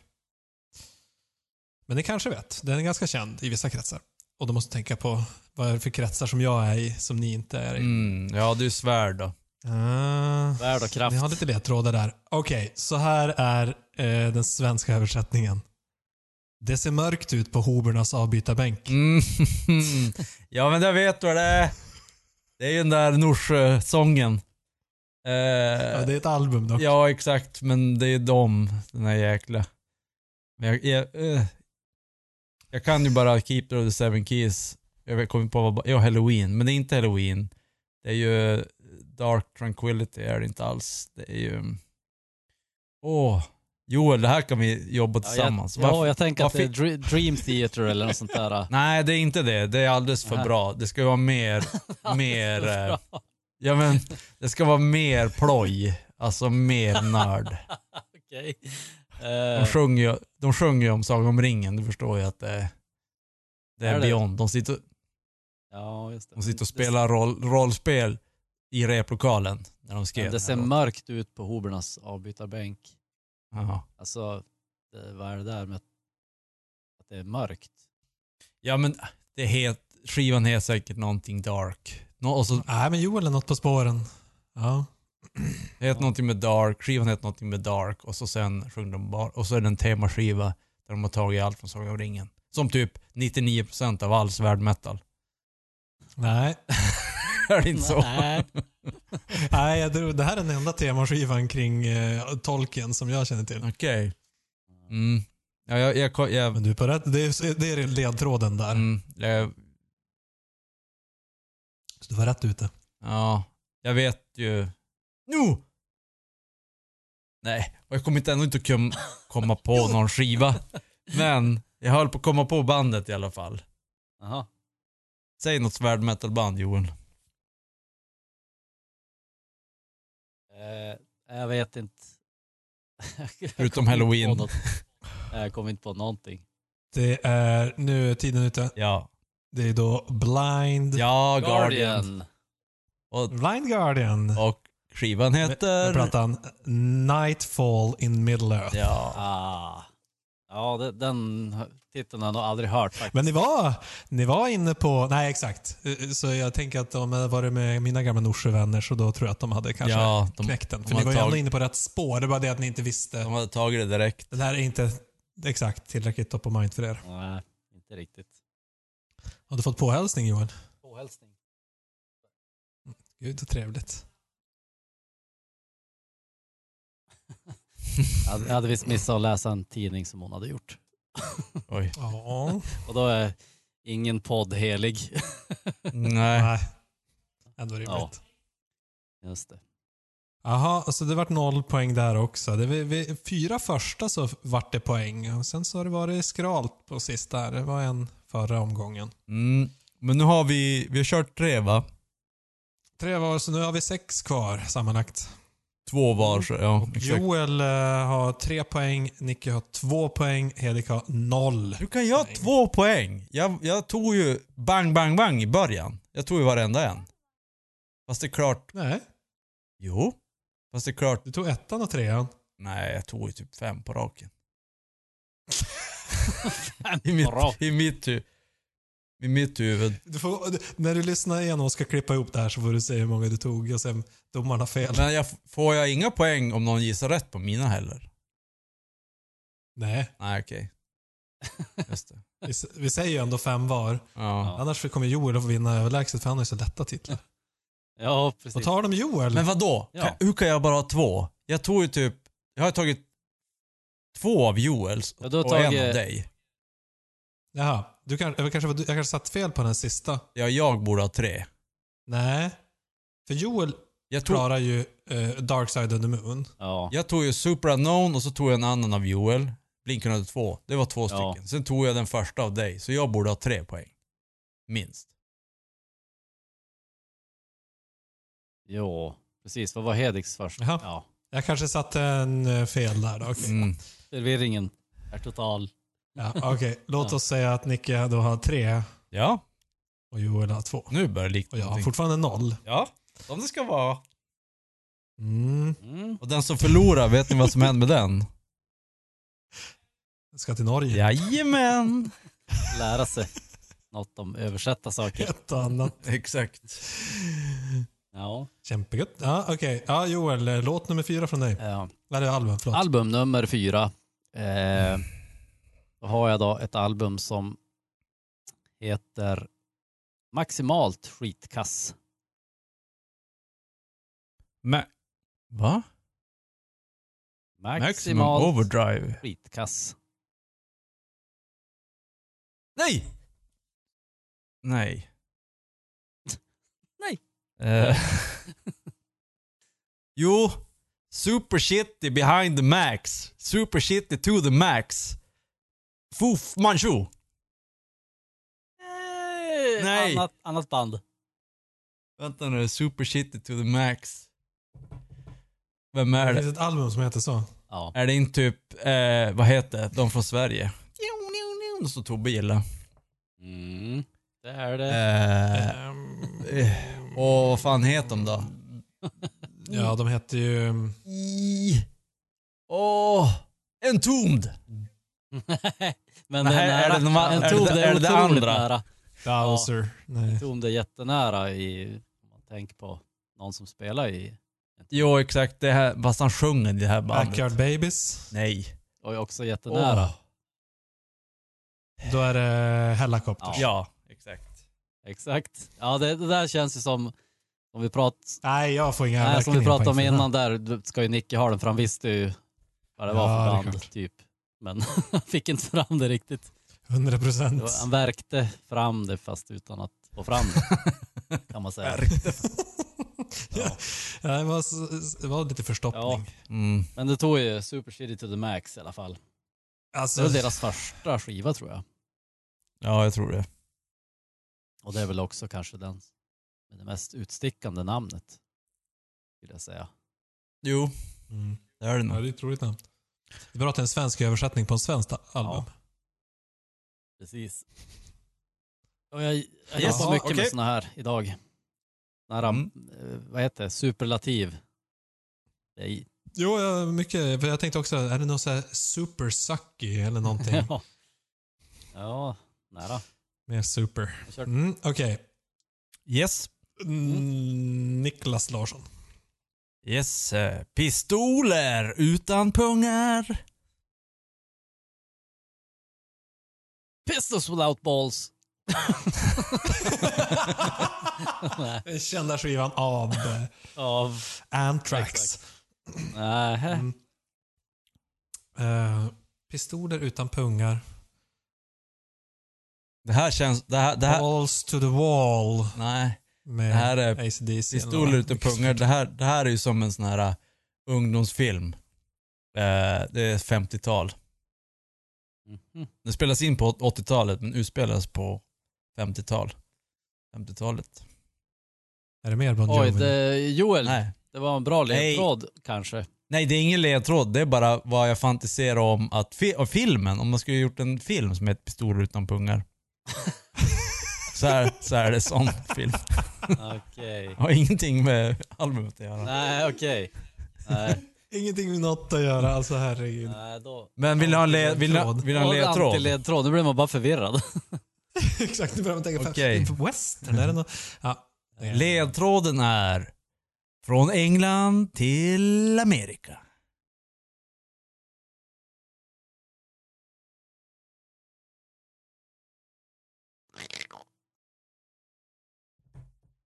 Speaker 1: Men ni kanske vet. Den är ganska känd i vissa kretsar. Och då måste ni tänka på vad är det för kretsar som jag är i, som ni inte är i.
Speaker 2: Mm, ja, det är svärd då. Mm.
Speaker 1: Ah.
Speaker 3: Värld och kraft.
Speaker 1: Ni har lite ledtrådar där. Okej, så här är eh, den svenska översättningen. Det ser mörkt ut på Hobernas avbytarbänk.
Speaker 2: Mm. <laughs> Ja, men jag vet vad det är. Det är ju den där Norsjösången. Eh,
Speaker 1: Ja, det är ett album dock.
Speaker 2: Ja, exakt. Men det är dem, den här jäkla. Men jag, jag, eh, jag kan ju bara Keeper of the Seven Keys. Jag vet- kommer på vad... Ja, Halloween. Men det är inte Halloween. Det är ju eh, Dark Tranquility är det inte alls. Det är ju... mm. Åh. Joel, det här kan vi jobba tillsammans.
Speaker 3: Ja, jag,
Speaker 2: Varför-
Speaker 3: ja, jag tänker att det är
Speaker 2: varför-
Speaker 3: Dre- Dream Theater eller något sånt
Speaker 2: <laughs>
Speaker 3: där.
Speaker 2: Nej, det är inte det. Det är alldeles för
Speaker 3: Nähä.
Speaker 2: bra. Det ska
Speaker 3: <laughs>
Speaker 2: vara mer... mer eh, ja, men, det ska vara mer ploj. Alltså mer nörd.
Speaker 3: Okej.
Speaker 2: De
Speaker 3: Eh,
Speaker 2: sjunger, ju- de sjunger ju om Sagan om ringen, du förstår ju att det, det är,
Speaker 3: Är det?
Speaker 2: Beyond. De sitter,
Speaker 3: ja, just det.
Speaker 2: de sitter och
Speaker 3: Det- det-
Speaker 2: spelar roll, rollspel i replokalen när de skrev
Speaker 3: Det ser
Speaker 2: den här
Speaker 3: mörkt ut på Hobernas avbytarbänk.
Speaker 2: låten. Ja.
Speaker 3: Alltså, det, vad är det där med att att det är mörkt?
Speaker 2: ja men det het, skivan heter säkert någonting dark. Nå, och så
Speaker 1: Nej, men Joel är något på spåren. Ja.
Speaker 2: det heter någonting med dark, skivan heter någonting med dark och så sen sjunger de bara, och så är det en temaskiva där de har tagit allt från Sagan om ringen. Som typ 99% av all svärd metal. <laughs>
Speaker 1: Nej.
Speaker 2: är det inte så?
Speaker 3: Nej.
Speaker 1: Nej, jag tror, det här är den enda temaskivan kring eh, Tolkien som jag känner till.
Speaker 2: Okej. Mm. Ja, jag, jag, jag, jag
Speaker 1: Men du är på rätt. Det är, det är ledtråden där.
Speaker 2: Mm, jag,
Speaker 1: Så du var rätt ute.
Speaker 2: ja, jag vet ju... Nu! Nej, och jag kommer inte ändå inte kum, komma på någon skiva. Men jag höll på att komma på bandet i alla fall.
Speaker 3: Jaha.
Speaker 2: Säg något svärd metalband Joel.
Speaker 3: Eh, jag vet inte. <laughs> Jag kom
Speaker 2: Förutom
Speaker 3: inte
Speaker 2: Halloween.
Speaker 3: på något. Nej, Jag kom inte på någonting.
Speaker 1: Det är, nu är tiden ute.
Speaker 2: Ja.
Speaker 1: Det är då Blind,
Speaker 2: Ja, Guardian. Och,
Speaker 1: Blind Guardian.
Speaker 2: och skivan
Speaker 1: Med
Speaker 2: heter...
Speaker 1: plattan Nightfall in Middle Earth.
Speaker 2: Ja.
Speaker 3: Ah. Ja, det, den titeln har jag nog aldrig hört faktiskt.
Speaker 1: Men ni var, ni var inne på... Nej, exakt. Eh, Så jag tänker att om jag varit med mina gamla Norsjövänner så då tror jag att de hade kanske
Speaker 2: Ja, de,
Speaker 1: knäckt den. För
Speaker 2: de
Speaker 1: ni
Speaker 2: har
Speaker 1: var ju ändå
Speaker 2: tagit-
Speaker 1: inne på rätt spår. Det var det att ni inte visste.
Speaker 2: de hade tagit det direkt.
Speaker 1: Det här är inte exakt tillräckligt top of mind för er.
Speaker 3: Nej, inte riktigt.
Speaker 1: Har du fått påhälsning Johan?
Speaker 3: Påhälsning.
Speaker 1: Gud, så trevligt.
Speaker 3: Jag hade- jag hade visst missat att läsa en tidning som hon hade gjort.
Speaker 2: Oj.
Speaker 1: Ja.
Speaker 3: Och då är ingen podd helig. <laughs>
Speaker 2: Nej.
Speaker 1: Nej. Ändå rimligt.
Speaker 3: Just det.
Speaker 1: Jaha, alltså det vart noll poäng där också. Det var, vi, fyra första så vart det poäng. Och sen så har det varit skralt på sista. här. Det var en förra omgången.
Speaker 2: Mm. Men nu har vi, vi har kört tre va?
Speaker 1: Tre var så nu har vi sex kvar sammanlagt.
Speaker 2: Två var, så, ja. Exakt.
Speaker 1: Joel eh, har tre poäng, Nicky har två poäng, Hedik har noll.
Speaker 2: Hur kan jag ha två poäng? Jag, jag tog ju bang, bang, bang i början. Jag tog ju varenda en. Fast det är klart...
Speaker 1: Nej,
Speaker 2: Jo. Fast det är klart...
Speaker 1: du tog ettan och trean.
Speaker 2: Nej, jag tog ju typ fem på raken. I mitt,
Speaker 3: på raken.
Speaker 2: i mitt, hu- i mitt huvud.
Speaker 1: Du får, du- när du lyssnar igenom och ska klippa ihop det här så får du säga hur många du tog och sen domarna fel.
Speaker 2: Men jag, får jag inga poäng om någon gissar rätt på mina heller?
Speaker 1: Nej,
Speaker 2: Nej,
Speaker 3: <laughs>
Speaker 2: okej. Just det.
Speaker 1: vi, s- vi säger ju ändå fem var.
Speaker 2: Ja.
Speaker 1: Annars kommer Joel att vinna överlägset för han har ju så lätta titlar.
Speaker 3: Ja,
Speaker 1: Vad
Speaker 3: precis.
Speaker 1: tar de Joel?
Speaker 2: Men vad då?
Speaker 3: Ja.
Speaker 2: Hur kan jag bara ha två? Jag tog ju typ... Jag har tagit två av Joels
Speaker 3: Ja, du har
Speaker 2: och en av
Speaker 3: tagit-
Speaker 2: dig.
Speaker 1: Jaha, du kan, jag, kanske, var- jag kanske satt fel på den sista.
Speaker 2: Ja, jag borde ha tre.
Speaker 1: Nej. För Joel
Speaker 2: Jag tog,
Speaker 1: klarar ju eh, Dark Side of the Moon.
Speaker 3: Ja.
Speaker 2: jag tog ju Super Unknown och så tog jag en annan av Joel. Blinken hade två. Det var två
Speaker 3: Ja.
Speaker 2: stycken. Sen tog jag den första av dig, så jag borde ha tre poäng. Minst.
Speaker 3: Jo, precis. Vad var Hediks första?
Speaker 1: Jaha.
Speaker 3: Ja.
Speaker 1: Jag kanske satte en eh, fel där då. okej.
Speaker 2: Mm.
Speaker 3: Förvirringen är total.
Speaker 1: Ja, okej. Låt oss säga att Nicke då har tre
Speaker 2: Ja,
Speaker 1: och Joel har två.
Speaker 2: nu börjar det likna
Speaker 1: Och jag har
Speaker 2: någonting.
Speaker 1: fortfarande noll.
Speaker 2: Ja, som det ska vara.
Speaker 1: Mm.
Speaker 3: Mm.
Speaker 2: Och den som förlorar, vet ni vad som händer med den?
Speaker 1: Jag ska till Norge.
Speaker 2: <laughs> Jajamän!
Speaker 3: Lära sig <laughs> något om översätta saker.
Speaker 1: Ett och annat.
Speaker 2: Exakt.
Speaker 3: Ja.
Speaker 1: Kämpegött. Ja, okej. Ja, Joel, eh, låt nummer fyra från dig.
Speaker 3: ja. eh,
Speaker 1: Eller album, förlåt.
Speaker 3: Album nummer fyra. Eh, då har jag då ett album som heter Maximalt skitkass.
Speaker 2: Ma- Va?
Speaker 3: Maximalt
Speaker 2: Maximum Overdrive.
Speaker 3: skitkass.
Speaker 2: Nej! Nej.
Speaker 3: Nej.
Speaker 2: Eh. jo, Super Shitty behind the max. Super Shitty to the max. Fu Manchu. Nej.
Speaker 3: Annat, annat band.
Speaker 2: Vänta nu, Super Shitty to the max. Vem är
Speaker 1: Det
Speaker 2: det?
Speaker 1: finns ett album som heter så.
Speaker 3: Ja.
Speaker 2: Är det inte typ, eh, vad heter det? de från Sverige? Så Tobbe gillar.
Speaker 3: Mm. Det är det.
Speaker 2: Eh,
Speaker 1: Ehm,
Speaker 2: eh, och vad fan heter de då?
Speaker 1: ja, de hette ju... mm,
Speaker 2: I... Åh! Entombed!
Speaker 3: Men
Speaker 2: Nej,
Speaker 3: det är
Speaker 2: är
Speaker 3: nära.
Speaker 2: det de- är
Speaker 3: en
Speaker 2: det-
Speaker 3: tom,
Speaker 2: är
Speaker 3: det
Speaker 2: det
Speaker 3: är
Speaker 2: det
Speaker 3: otroligt
Speaker 2: andra?
Speaker 3: nära.
Speaker 1: Dowser. Nej.
Speaker 3: Tom, det är jättenära i, om man tänker på någon som spelar i,
Speaker 2: Jo, exakt. Det här, fast han sjunger i det här bandet.
Speaker 1: Backyard Babies.
Speaker 2: Nej.
Speaker 3: och är också jättenära.
Speaker 2: Åh.
Speaker 1: Då är det Hellacopters.
Speaker 2: Ja, exakt.
Speaker 3: Exakt. Ja, det, det där känns ju som, som vi, prat,
Speaker 1: Nej, jag får inga
Speaker 3: nej, som vi
Speaker 1: verkligen
Speaker 3: pratade om
Speaker 1: poäng för
Speaker 3: innan där, då ska ju Nicke ha den för han visste ju vad det var
Speaker 1: Ja, det är
Speaker 3: för band,
Speaker 1: klart.
Speaker 3: typ. Men <laughs> han fick inte fram det riktigt.
Speaker 1: den. 100
Speaker 3: Det
Speaker 1: procent.
Speaker 3: var- Han verkte fram det fast utan att få fram det.
Speaker 1: <laughs>
Speaker 3: Kan man säga.
Speaker 1: Ja. Det var, s- det var lite förstoppning.
Speaker 2: Mm.
Speaker 3: Men det tog ju Super City to the Max i alla fall. Det
Speaker 1: Alltså,
Speaker 3: var deras första skiva tror jag.
Speaker 2: Ja, jag tror det.
Speaker 3: Och det är väl också kanske den med det mest utstickande namnet. Vill jag säga.
Speaker 2: Jo,
Speaker 1: mm.
Speaker 2: det är det
Speaker 1: ja,
Speaker 2: nog.
Speaker 1: det är ett roligt namn. Det är bra att det är en svensk översättning på en svensk album.
Speaker 3: Precis. <laughs> Och jag, jag
Speaker 2: Yes,
Speaker 3: jobbar mycket
Speaker 2: okej.
Speaker 3: med såna här idag. Såna här,
Speaker 2: Mm.
Speaker 3: eh, vad heter det, superlativ. Det <laughs> är,
Speaker 1: Jo, ja, mycket. För jag tänkte också, är det någon så här super sucky eller någonting?
Speaker 3: <laughs> ja. ja, nära.
Speaker 1: Mer super.
Speaker 3: Jag kör.
Speaker 1: Mm, Okej.
Speaker 2: Yes.
Speaker 1: Mm, Niklas Larsson.
Speaker 2: Yes. eh, Pistoler utan pungar.
Speaker 3: Pistols without balls. Nej,
Speaker 1: Den Kända skivan av eh,
Speaker 3: av...
Speaker 1: Anthrax.
Speaker 3: Exakt. Nähä.
Speaker 1: Mm. Eh, pistoler utan pungar.
Speaker 2: Det här känns... Det här... Det här
Speaker 1: Balls to the wall.
Speaker 2: nej.
Speaker 1: Med
Speaker 2: Det här är
Speaker 1: ACDC.
Speaker 2: Pistoler utan pungar. Det här, det här är ju som en sån här eh, ungdomsfilm. Eh, det är 50-tal.
Speaker 3: Mhm.
Speaker 2: Den spelas in på 80-talet men utspelas på 50-tal. 50-talet.
Speaker 1: Är det mer Bon
Speaker 3: Oj,
Speaker 1: Jovi?
Speaker 3: det, Joel.
Speaker 2: Nej.
Speaker 3: Det var en bra
Speaker 2: Nej.
Speaker 3: ledtråd kanske.
Speaker 2: Nej, det är ingen ledtråd. Det är bara vad jag fantiserar om att fi- och filmen, om man skulle gjort en film som heter Pistol utan pungar. <laughs> så, här, så här är det sån film.
Speaker 3: Okej.
Speaker 2: Har ingenting med albumet att göra.
Speaker 3: Nej, okej. Nej,
Speaker 1: Ingenting med något att göra, alltså herregud.
Speaker 3: nej, då.
Speaker 2: Men vill ni ha en le- vill ni ha- vill ni ha en
Speaker 3: Då var det
Speaker 2: ledtråd?
Speaker 3: antiledtråd. Nu blir man bara förvirrad.
Speaker 1: <laughs> Exakt, nu börjar man tänka,
Speaker 2: Okej.
Speaker 1: fan, western, är det något? Ja.
Speaker 2: Ledtråden är från England till Amerika.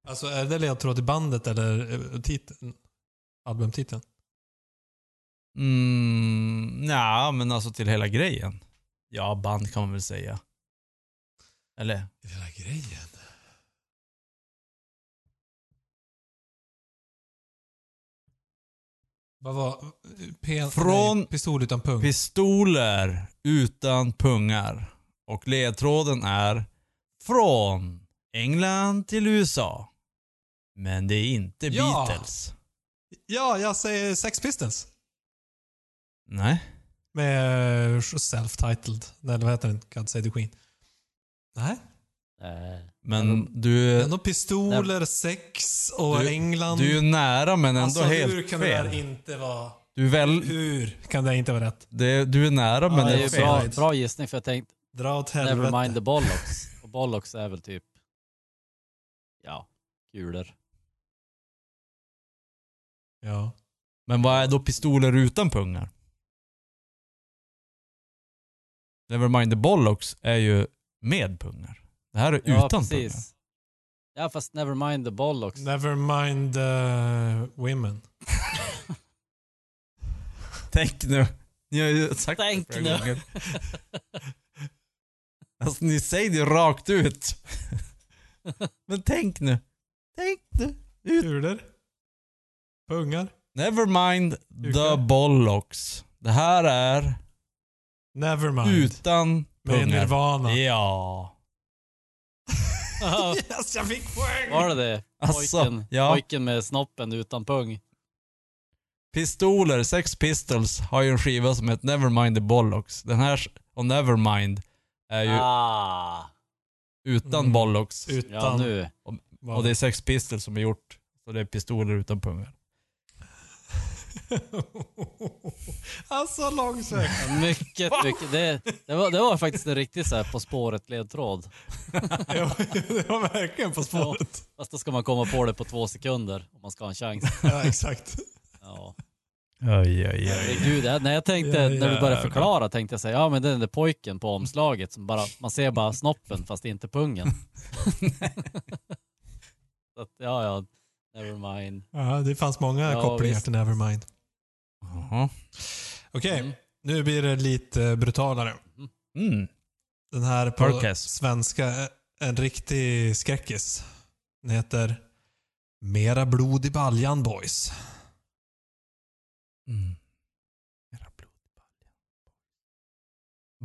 Speaker 1: Alltså är det ledtråd i bandet eller eh, titeln? Albumtiteln?
Speaker 2: Mm, nja, men alltså till hela grejen. Ja, band kan man väl säga. Eller?
Speaker 1: Hela grejen. Vad var... P-
Speaker 2: Från-
Speaker 1: nej, pistol utan pung.
Speaker 2: Pistoler utan pungar. Och ledtråden är från England till USA. Men det är inte
Speaker 1: Ja!
Speaker 2: Beatles.
Speaker 1: ja, jag säger Sex Pistons.
Speaker 2: Nej.
Speaker 1: Med eh, self-titled. Nej, vad heter den? God Save the Queen. Nej.
Speaker 3: Nej.
Speaker 2: Men du,
Speaker 1: Ändå pistoler, sex och
Speaker 2: Eh, Du-
Speaker 1: England.
Speaker 2: du är nära men ändå
Speaker 1: alltså,
Speaker 2: helt
Speaker 1: hur kan det
Speaker 2: fel.
Speaker 1: där inte vara...
Speaker 2: Du är, väl,
Speaker 1: Hur kan det inte vara rätt?
Speaker 2: det, du är nära men
Speaker 3: det är
Speaker 2: ändå
Speaker 3: ju
Speaker 2: fel.
Speaker 3: bra, bra gissning för jag tänkte
Speaker 1: Dra åt
Speaker 3: Never mind
Speaker 1: helvete.
Speaker 3: the bollocks. Och bollocks är väl typ, ja, kulor.
Speaker 1: Ja.
Speaker 2: Men vad är då pistoler utan pungar? Nevermind the Bollocks är ju med pungar. Det här är
Speaker 3: Ja,
Speaker 2: utan pungar.
Speaker 3: precis. Ja, fast never mind the bollocks.
Speaker 1: Never mind eh, women.
Speaker 2: Tänk nu. Ni har ju sagt
Speaker 3: Tänk
Speaker 2: det
Speaker 3: nu.
Speaker 2: flera gånger. Alltså ni säger det ju rakt ut. Men tänk nu. Tänk nu.
Speaker 1: Kulor. Pungar.
Speaker 2: Nevermind the
Speaker 1: Kukar.
Speaker 2: Bollocks. Det här är
Speaker 1: Never mind.
Speaker 2: utan
Speaker 1: Med
Speaker 2: pungar.
Speaker 1: Nirvana.
Speaker 2: Ja.
Speaker 1: Yes, jag fick poäng!
Speaker 3: <laughs> Var det det?
Speaker 2: Alltså,
Speaker 3: Pojken,
Speaker 2: ja.
Speaker 3: pojken med snoppen utan pung.
Speaker 2: Pistoler, Sex Pistols har ju en skiva som heter Nevermind the Bollocks. Den här och Nevermind är ju
Speaker 3: Ah,
Speaker 2: utan
Speaker 1: Mm.
Speaker 2: Bollocks.
Speaker 1: Utan...
Speaker 3: ja, nu.
Speaker 1: vad-
Speaker 2: Och det är Sex Pistols som är gjort. Så det är pistoler utan pungar.
Speaker 1: <laughs> alltså långsökt.
Speaker 3: Mycket, mycket. Det, det, var, det var faktiskt en riktig så här På
Speaker 2: <laughs>
Speaker 3: spåret-ledtråd.
Speaker 1: <laughs> Ja, det var verkligen På spåret.
Speaker 3: Fast då ska man komma på det på två sekunder om man ska ha en chans.
Speaker 1: Ja, exakt.
Speaker 3: Ja.
Speaker 2: Oj, oj,
Speaker 3: Herregud, ja, när jag tänkte,
Speaker 1: Ja,
Speaker 3: när du
Speaker 1: jävlar.
Speaker 3: började förklara tänkte jag säga, ja men det är den där pojken på omslaget som bara, man ser bara snoppen fast
Speaker 1: <laughs>
Speaker 3: inte pungen. Så att, ja, ja, never mind.
Speaker 1: Ja, det fanns många
Speaker 3: Ja,
Speaker 1: kopplingar
Speaker 3: visst.
Speaker 1: till Nevermind.
Speaker 2: Jaha.
Speaker 1: Okej,
Speaker 3: Mm.
Speaker 1: nu blir det lite brutalare.
Speaker 2: Mm.
Speaker 1: Den här på
Speaker 2: Perkes.
Speaker 1: svenska är en riktig skräckis. Den heter Mera blod i baljan boys.
Speaker 2: Mm. Mera blod i baljan.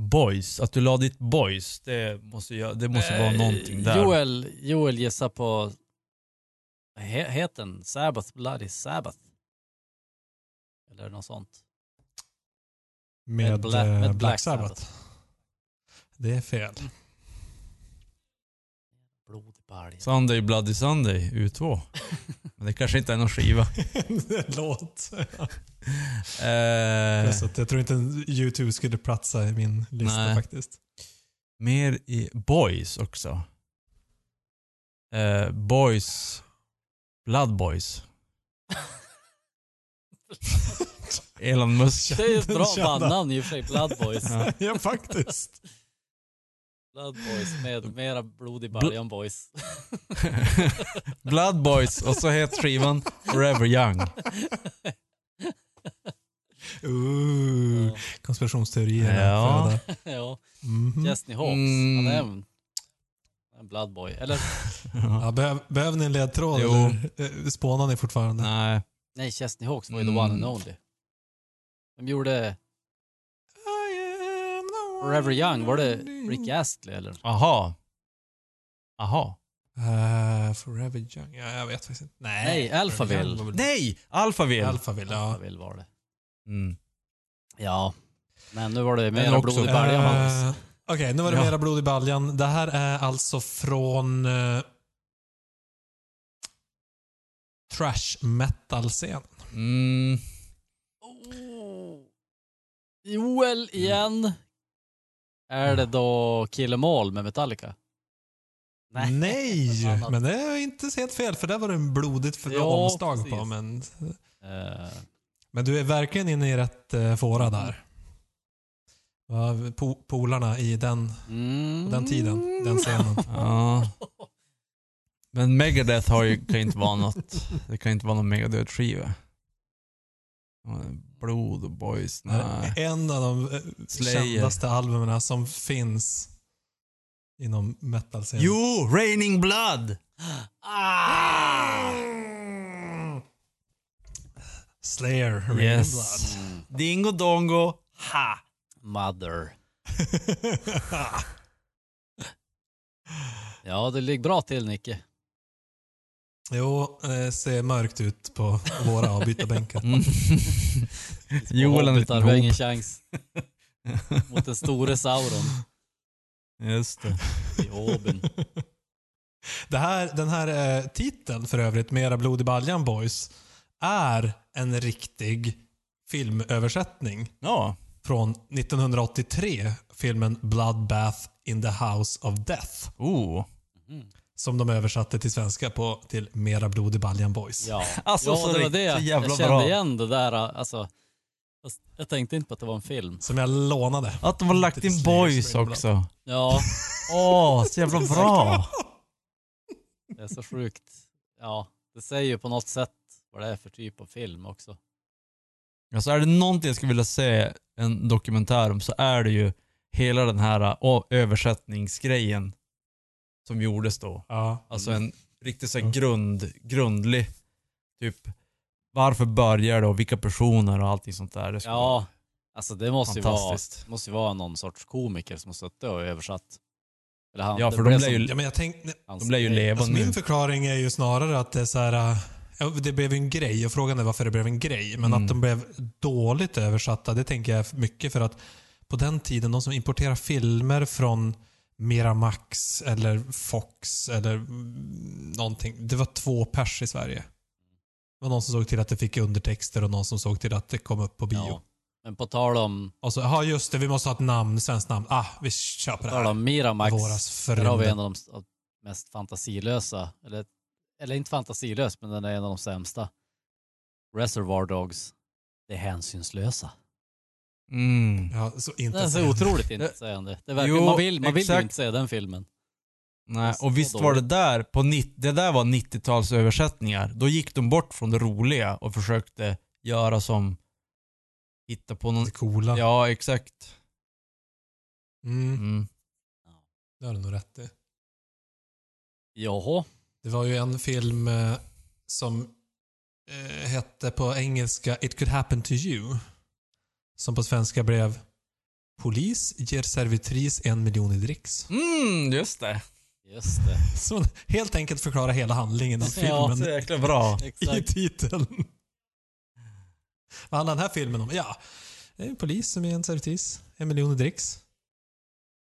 Speaker 2: Boys, att du la ditt boys, det måste, ju- det måste vara
Speaker 3: Eh,
Speaker 2: någonting där.
Speaker 3: Joel, Joel gissar på, he, heter den Sabbath, Bloody Sabbath? Eller något sånt.
Speaker 1: Med,
Speaker 3: Bla-
Speaker 1: eh,
Speaker 3: med
Speaker 1: Black,
Speaker 3: Black
Speaker 1: Sabbath. Det är <laughs> fel.
Speaker 3: Blod i baljan.
Speaker 2: Sunday Bloody Sunday,
Speaker 3: <laughs>
Speaker 2: U2. Men det kanske inte är någon skiva.
Speaker 1: Låt.
Speaker 2: Eh,
Speaker 1: Plus att jag tror inte YouTube skulle platsa i min lista
Speaker 2: Nej.
Speaker 1: faktiskt.
Speaker 2: mer i Boys också. Eh, boys. Blood
Speaker 3: <laughs>
Speaker 2: Boys. Elon Musk.
Speaker 3: Det är ju ett bra
Speaker 1: Kända.
Speaker 3: bandnamn i och för sig, Blood Boys.
Speaker 2: Ja.
Speaker 1: <laughs> ja, faktiskt.
Speaker 3: Blood Boys med mera blod i baljan boys.
Speaker 2: <laughs> Blood Boys och så heter skivan Forever <laughs> Young.
Speaker 1: Ooh,
Speaker 2: Mm.
Speaker 3: Ja.
Speaker 1: Konspirationsteorier.
Speaker 2: Ja.
Speaker 1: föda.
Speaker 3: <laughs> ja.
Speaker 1: Mhm.
Speaker 3: Jessny Hawks,
Speaker 2: Mm.
Speaker 3: han är en, en bloodboy. Eller
Speaker 1: Ja, behöv, behöver ni en ledtråd
Speaker 2: Jo.
Speaker 1: eller eh, spånar ni fortfarande?
Speaker 2: Nej.
Speaker 3: nej, Jessny Hawks var ju the one and
Speaker 2: Mm.
Speaker 3: only. De gjorde
Speaker 1: I am the one
Speaker 3: Forever Young, var det
Speaker 1: and only.
Speaker 3: Rick Astley eller?
Speaker 2: Aha. Aha.
Speaker 1: Eh, Forever Young? Ja, jag vet faktiskt inte. Nej,
Speaker 3: Nej, Alphaville.
Speaker 1: Forever Young var väl-
Speaker 2: Nej! Alphaville!
Speaker 1: Alphaville, ja.
Speaker 3: Vill var det.
Speaker 2: Mm.
Speaker 3: Ja. Men nu var det
Speaker 2: är
Speaker 3: mer
Speaker 2: också-
Speaker 3: blod i
Speaker 2: Eh,
Speaker 3: baljan. Magnus.
Speaker 1: Eh, Okej, nu var det
Speaker 2: Ja.
Speaker 1: mera blod i baljan. Det här är alltså från eh, trash metal-scen.
Speaker 2: Mm.
Speaker 3: Oh. Joel igen. Är det då Killemål med Metallica?
Speaker 1: Nej,
Speaker 3: <laughs> annat.
Speaker 1: men det är inte helt fel för där var det en blodigt för
Speaker 3: Ja,
Speaker 1: omslag på.
Speaker 3: precis.
Speaker 1: Men,
Speaker 3: Eh,
Speaker 1: men du är verkligen inne i rätt eh, fåra där. Va, po- polarna i den,
Speaker 3: mm.
Speaker 1: på den tiden, den scenen.
Speaker 2: Ja. Men Megadeth har ju, kan ju inte vara något. Det kan ju inte vara någon Megadeth-skiva. Blod och boys, <laughs> nej.
Speaker 1: En av de eh,
Speaker 2: Slayer.
Speaker 1: kändaste albumen som finns inom metal-scenen.
Speaker 2: Jo! Raining Blood!
Speaker 3: Ah!
Speaker 1: Slayer, Rain
Speaker 2: Yes.
Speaker 1: Blood. <laughs>
Speaker 3: Mm.
Speaker 2: Dingo Dongo, ha!
Speaker 3: Mother. Ja, det ligger bra till Nicke.
Speaker 1: jo, det ser mörkt ut på våra
Speaker 2: <laughs>
Speaker 1: avbytarbänkar.
Speaker 2: Mm. Joel är en
Speaker 3: Hobbitar
Speaker 2: liten
Speaker 3: har ingen
Speaker 2: hop. <laughs>
Speaker 3: chans mot den store Sauron
Speaker 2: Just det.
Speaker 3: i Åben.
Speaker 1: Det här, den här eh, titeln för övrigt, Mera blod i baljan boys, är en riktig filmöversättning
Speaker 2: Ja.
Speaker 1: från 1983, filmen Bloodbath in the House of Death,
Speaker 2: Oh.
Speaker 3: Mm.
Speaker 1: som de översatte till svenska på till Mera blod i baljan boys.
Speaker 3: Ja,
Speaker 2: Alltså,
Speaker 3: ja
Speaker 2: så
Speaker 3: det var
Speaker 2: riktigt
Speaker 3: det jag,
Speaker 2: jävla
Speaker 3: jag kände
Speaker 2: bra.
Speaker 3: igen det där. Alltså, fast jag tänkte inte på att det var en film.
Speaker 1: Som jag lånade.
Speaker 2: Att de har lagt in boys också.
Speaker 3: Ja,
Speaker 2: Åh, så <laughs> jävla bra.
Speaker 3: det är så sjukt. Ja, det säger ju på något sätt vad det är för typ av film också.
Speaker 2: Alltså är det någonting jag skulle vilja se en dokumentär om så är det ju hela den här å, översättningsgrejen som gjordes då.
Speaker 1: Ja.
Speaker 2: Alltså en riktigt så här grund, grundlig, typ varför börjar det och vilka personer och allting sånt där. Det skulle vara
Speaker 3: Ja, alltså det måste ju vara,
Speaker 2: fantastiskt.
Speaker 3: måste ju vara någon sorts komiker som har suttit och översatt. Eller han,
Speaker 2: Ja,
Speaker 3: det
Speaker 2: för de
Speaker 3: blev
Speaker 2: lär
Speaker 3: som
Speaker 2: ju-
Speaker 1: ja, men jag tänkte...
Speaker 3: hans
Speaker 2: De lär ju
Speaker 3: grej.
Speaker 2: leva
Speaker 1: Alltså,
Speaker 2: nu.
Speaker 1: min förklaring är ju snarare att det är så här... äh, ja, Det blev ju en grej och frågan är varför det blev en grej. Men
Speaker 2: Mm.
Speaker 1: att de blev dåligt översatta, det tänker jag mycket för att på den tiden, de som importerar filmer från Miramax eller Fox eller mm, någonting. Det var två pers i Sverige. Det var någon som såg till att det fick undertexter och någon som såg till att det kom upp på bio.
Speaker 3: Ja. Men på tal om,
Speaker 1: Och så, ja just det, vi måste ha ett namn, svenskt namn. Ah, vi köper
Speaker 3: på
Speaker 1: det
Speaker 3: tal
Speaker 1: här.
Speaker 3: om Miramax,
Speaker 1: Våras
Speaker 3: där har vi en
Speaker 1: förrymden.
Speaker 3: av de mest fantasilösa, eller, eller inte fantasilös, men den är en av de sämsta. Reservoir Dogs, Det hänsynslösa.
Speaker 2: Mm.
Speaker 1: Ja, så
Speaker 3: Det
Speaker 1: inte
Speaker 3: är så
Speaker 1: säga.
Speaker 3: otroligt intetsägande. Det är verkligen,
Speaker 2: Jo,
Speaker 3: man vill, man vill ju
Speaker 2: exakt.
Speaker 3: inte se den filmen.
Speaker 2: Nej,
Speaker 3: Så
Speaker 2: och visst var det där, på 90, det där var 90-talsöversättningar. Då gick de bort från det roliga och försökte göra som, hitta på någon,
Speaker 1: Det coola.
Speaker 2: ja exakt.
Speaker 1: Mm.
Speaker 2: Mm.
Speaker 1: Det har du nog rätt i.
Speaker 3: Jaha.
Speaker 1: Det var ju en film eh, som eh, hette på engelska It could happen to you. Som på svenska blev Polis ger servitris en miljon i dricks. <laughs>
Speaker 2: Mm, just <laughs> det.
Speaker 3: Just det.
Speaker 1: Så helt enkelt förklara hela handlingen i
Speaker 3: Ja,
Speaker 2: Så
Speaker 1: filmen
Speaker 2: jäkla bra.
Speaker 1: i
Speaker 3: Exakt.
Speaker 1: titeln. Vad handlar den här filmen om? Ja, det är en polis som är en servitris. En miljon i dricks. Så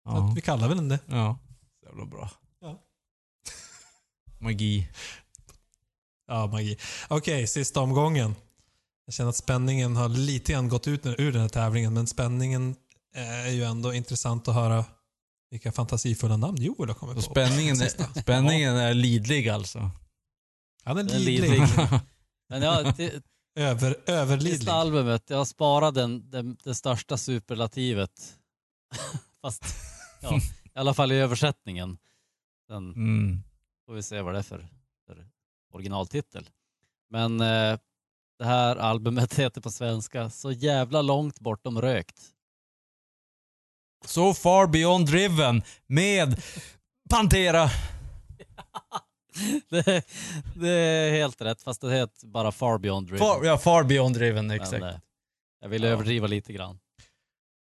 Speaker 2: Ja.
Speaker 1: att vi kallar väl den det.
Speaker 2: ja. Så jävla bra.
Speaker 1: Ja.
Speaker 2: <laughs> Magi.
Speaker 1: Ja, magi. Okej, sista omgången. Jag känner att spänningen har lite grann gått ut ur den här tävlingen, men spänningen eh, är ju ändå intressant att höra vilka fantasifulla namn Joel har kommit
Speaker 2: Så
Speaker 1: på.
Speaker 2: spänningen <laughs> är, spänningen är lidlig alltså.
Speaker 1: Han är
Speaker 3: Den är
Speaker 1: lidlig.
Speaker 3: lidlig. Men ja, till,
Speaker 1: Över, överlidlig.
Speaker 3: sista albumet, jag sparar den, den, det största superlativet. <laughs> Fast, ja, i alla fall i översättningen. Sen
Speaker 2: <laughs> Mm.
Speaker 3: får vi se vad det är för, för originaltitel. Men eh, det här albumet <laughs> heter på svenska Så jävla långt bortom rökt. <laughs>
Speaker 2: So far beyond driven med Pantera.
Speaker 3: det, det är helt rätt, fast det heter bara Far Beyond Driven.
Speaker 2: Far, ja, far beyond driven,
Speaker 3: Men,
Speaker 2: exakt.
Speaker 3: eh, jag vill
Speaker 2: Ja.
Speaker 3: överdriva lite
Speaker 2: <laughs>
Speaker 3: grann.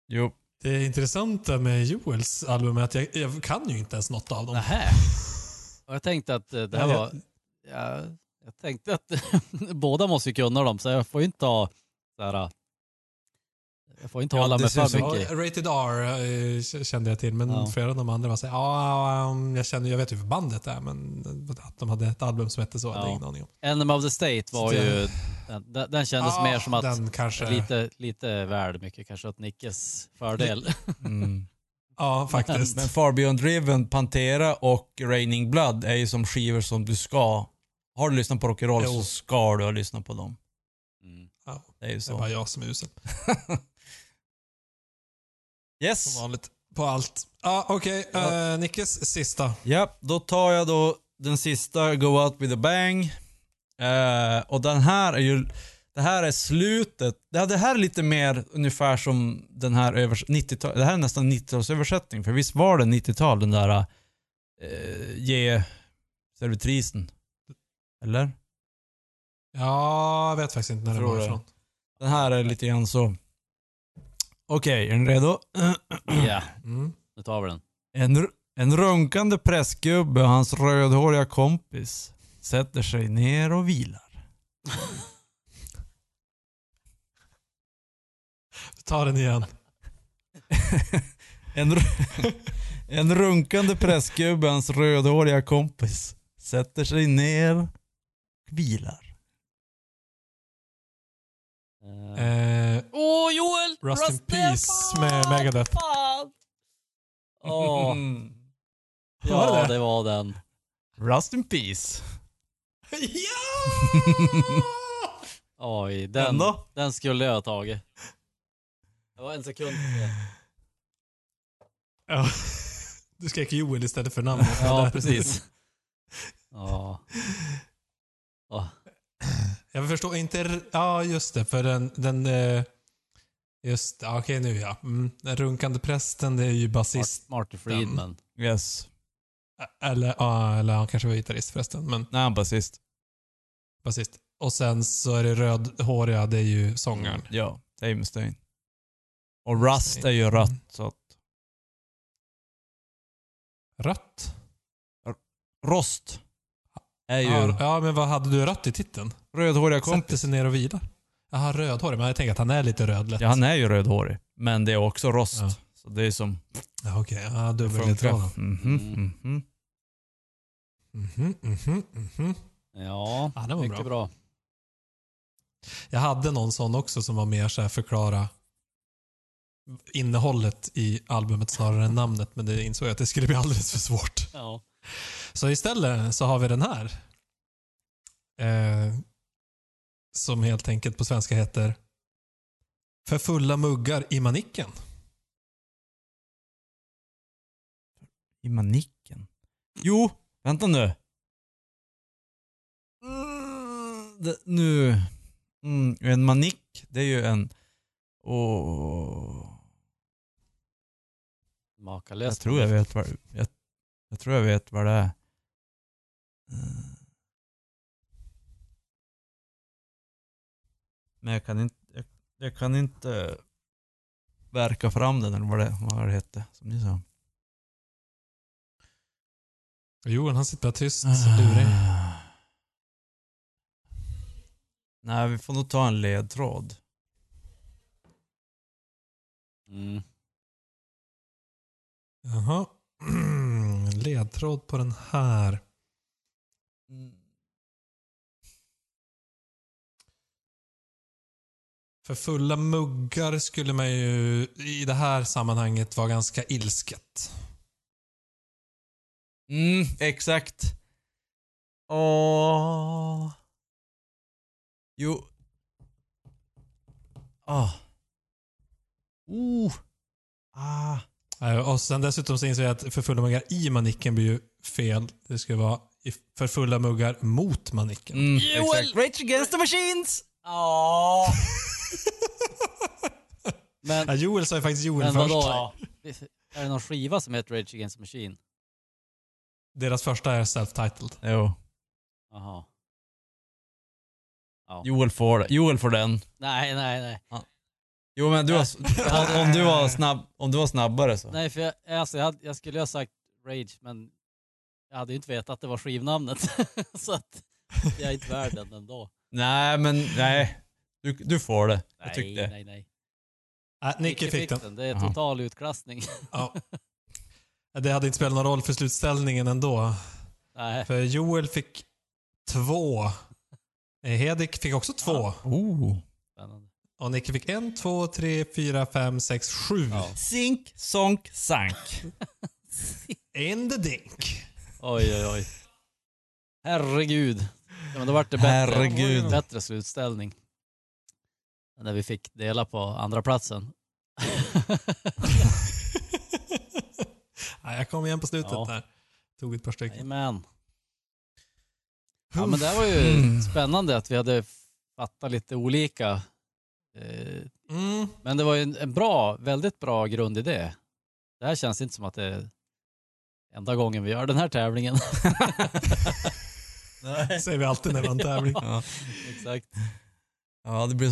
Speaker 2: Jo.
Speaker 1: Det intressanta med Joels album är att jag, jag kan ju inte ens något av dem.
Speaker 3: Nähä. Och jag tänkte att eh, det här
Speaker 1: Ja,
Speaker 3: var... Ja, jag tänkte att <laughs> båda måste ju kunna dem, så jag får ju inte ta... Så här, eh, jag får inte
Speaker 2: Ja,
Speaker 3: hålla
Speaker 2: det
Speaker 3: mig
Speaker 2: ser
Speaker 1: Så,
Speaker 3: för
Speaker 2: ut som-
Speaker 3: mycket.
Speaker 1: ja, rated R eh, k- kände jag till, men
Speaker 3: Ja.
Speaker 1: flera av de andra var såhär, ja, um, jag känner, jag vet ju för bandet är, men att de hade ett album som hette så, hade
Speaker 3: Ja.
Speaker 1: jag ingen aning om.
Speaker 3: Enemy of the State var
Speaker 1: Så det-
Speaker 3: ju... Den, den- den kändes
Speaker 2: Ah,
Speaker 1: Ja,
Speaker 3: mer som att...
Speaker 1: Den kanske,
Speaker 3: Lite, lite väl mycket kanske åt Nickes fördel.
Speaker 2: Mm.
Speaker 1: ja faktiskt.
Speaker 2: Men Far Beyond Driven, Pantera och Raining Blood är ju som skivor som du ska... Har du lyssnat på rock'n'roll
Speaker 1: Jo.
Speaker 2: så ska du ha lyssnat på dem.
Speaker 3: Mm.
Speaker 1: ja,
Speaker 2: Det är ju
Speaker 1: det är
Speaker 2: så.
Speaker 1: bara jag som är usel. Som <laughs>
Speaker 2: Yes!
Speaker 1: vanligt. På allt. Ja, okej.
Speaker 2: Ja.
Speaker 1: eh, Nickes sista.
Speaker 2: Ja, då tar jag då den sista, Go Out With A Bang. Eh, och den här är ju... Det här är slutet. Det här, det här är lite mer ungefär som den här övers 90-tal. Det här är nästan 90-talsöversättning. För visst var det 90-tal den där eh, ge servitrisen? Eller?
Speaker 1: Ja, jag vet faktiskt inte när det
Speaker 2: Tror
Speaker 1: var
Speaker 2: det.
Speaker 1: ifrån.
Speaker 2: Den här är lite grann så. Okej, är ni redo?
Speaker 3: Ja,
Speaker 1: Mm.
Speaker 3: nu tar vi den.
Speaker 2: En, en runkande prästgubbe och hans rödhåriga kompis sätter sig ner och vilar.
Speaker 1: Ta den igen.
Speaker 2: En, ru- <laughs> en runkande prästgubbe och hans rödhåriga kompis sätter sig ner och vilar.
Speaker 3: Eh,
Speaker 1: Eh, <laughs>
Speaker 3: Åh Joel!
Speaker 1: Rust in peace med Megadeth.
Speaker 3: Fan! Åh,
Speaker 1: <laughs> Var
Speaker 3: ja
Speaker 1: det?
Speaker 3: det var den.
Speaker 2: Rust in peace.
Speaker 1: ja!
Speaker 3: Oj, den,
Speaker 2: Ändå.
Speaker 3: den skulle jag ha tagit. Det var en sekund.
Speaker 1: <laughs> Ja. <laughs> Du skrek Joel istället för <laughs> namnet.
Speaker 3: Ja, precis. Ja.
Speaker 1: Jag förstår inte... r- Ja, just det. För den... den eh, just det. Ja, Okej, nu ja. Mm. Den runkande prästen, det är ju basist.
Speaker 3: Mart- Martin Friedman.
Speaker 2: Yes.
Speaker 1: Eller, ja, eller han kanske var gitarrist förresten. Men
Speaker 2: Nej, han är basist.
Speaker 1: basist. Och sen så är det rödhåriga, det är ju sångaren.
Speaker 2: Ja, Dave Mustaine. Och Rust är ju
Speaker 1: Mm.
Speaker 2: rött så att...
Speaker 1: Rött?
Speaker 2: Rost är ju
Speaker 1: Ja, ja, men vad hade du rött i titeln?
Speaker 2: rödhåriga kompis.
Speaker 1: Sätter sig ner och vilar. Jaha, rödhårig. Men jag tänker att han är lite rödlätt.
Speaker 2: Ja, han är ju rödhårig. Men det är också rost.
Speaker 1: Ja.
Speaker 2: Så det är som...
Speaker 1: Ja, okej. Ja,
Speaker 2: Det funkar.
Speaker 1: dubbelledtråden.
Speaker 2: Mhm,
Speaker 3: Mm.
Speaker 2: mhm.
Speaker 1: Mhm, mhm, mhm.
Speaker 3: Ja,
Speaker 1: Ja, den var
Speaker 3: mycket
Speaker 1: bra.
Speaker 3: bra.
Speaker 1: Jag hade någon sån också som var mer så här förklara innehållet i albumet snarare än namnet, men det insåg jag att det skulle bli alldeles för svårt.
Speaker 3: Ja.
Speaker 1: Så istället så har vi den här. Eh, som helt enkelt på svenska heter För fulla muggar i manicken.
Speaker 2: I manicken. Jo, vänta nu. Mm, det, nu. Mm, en manick, det är ju en... Åh...
Speaker 3: Makalöst.
Speaker 2: Jag tror jag vet vad, jag, jag tror jag vet vad det är. Mm. Men jag kan inte, jag, jag kan inte verka fram den eller vad det, vad det hette som ni sa.
Speaker 1: Johan han sitter bara tyst,
Speaker 2: Ah.
Speaker 1: lurig.
Speaker 2: Nej, vi får nog ta en ledtråd.
Speaker 3: Mm.
Speaker 1: Jaha. <clears throat> Ledtråd på den här. För fulla muggar skulle man ju i det här sammanhanget vara ganska ilsket.
Speaker 2: Mm, exakt. Åh. Jo. Ah. Oh. Ah.
Speaker 1: Eh, Och sen dessutom så inser jag att för fulla muggar i manicken blir ju fel. Det skulle vara i- för fulla muggar mot manicken.
Speaker 2: Mm,
Speaker 3: Joel!
Speaker 2: exakt. Rage Against the Machines!
Speaker 3: Ja.
Speaker 1: <laughs>
Speaker 3: Men,
Speaker 1: Ja, Joel sa ju faktiskt Joel
Speaker 3: men
Speaker 1: först.
Speaker 3: vadå? Är det någon skiva som heter Rage Against the Machine?
Speaker 1: Deras första är self-titled.
Speaker 2: Jo.
Speaker 3: Jaha.
Speaker 2: Joel får, Joel får den.
Speaker 3: Nej, nej, nej.
Speaker 2: Jo men du <laughs> var, om, om, du var snabb, om du var snabbare så.
Speaker 3: Nej, för jag, alltså, jag, hade- jag skulle ju ha sagt Rage, men Jag hade ju inte vetat att det var skivnamnet. <laughs> så att jag är inte
Speaker 1: <laughs>
Speaker 3: värd den ändå.
Speaker 2: Nej, men nej. Du, du får det. Jag
Speaker 3: Nej,
Speaker 2: tyckte.
Speaker 3: nej, nej.
Speaker 1: Äh, Nicke
Speaker 3: Icke
Speaker 1: fick den.
Speaker 3: Det är
Speaker 2: Jaha.
Speaker 3: total utklassning. <laughs>
Speaker 1: Ja. Det hade inte spelat någon roll för slutställningen ändå.
Speaker 3: nej.
Speaker 1: För Joel fick två. Eh, Hedik fick också två.
Speaker 2: Oh.
Speaker 3: Spännande.
Speaker 1: Och Nicke fick en, två, tre, fyra, fem, sex, sju.
Speaker 3: Ja.
Speaker 2: Sink, sonk, sank.
Speaker 1: In the
Speaker 2: <laughs>
Speaker 1: dink.
Speaker 3: Oj, oj, oj. Herregud. Ja, men då vart det bättre,
Speaker 2: Herregud.
Speaker 3: bättre slutställning. Än När vi fick dela på andra platsen. <laughs>
Speaker 1: Nej, jag kom igen på slutet
Speaker 3: Ja.
Speaker 1: där. Tog ett par stycken.
Speaker 3: Amen. Ja, men det här var
Speaker 2: Mm.
Speaker 3: ju spännande att vi hade fattat lite olika. Eh,
Speaker 1: Mm.
Speaker 3: Men det var ju en, en bra, väldigt bra grundidé. Det här känns inte som att det är enda gången vi gör den här
Speaker 2: <laughs>
Speaker 3: tävlingen.
Speaker 1: Det säger vi alltid när vi har en tävling.
Speaker 2: Ja.
Speaker 3: Exakt.
Speaker 2: <laughs> ja, det blir...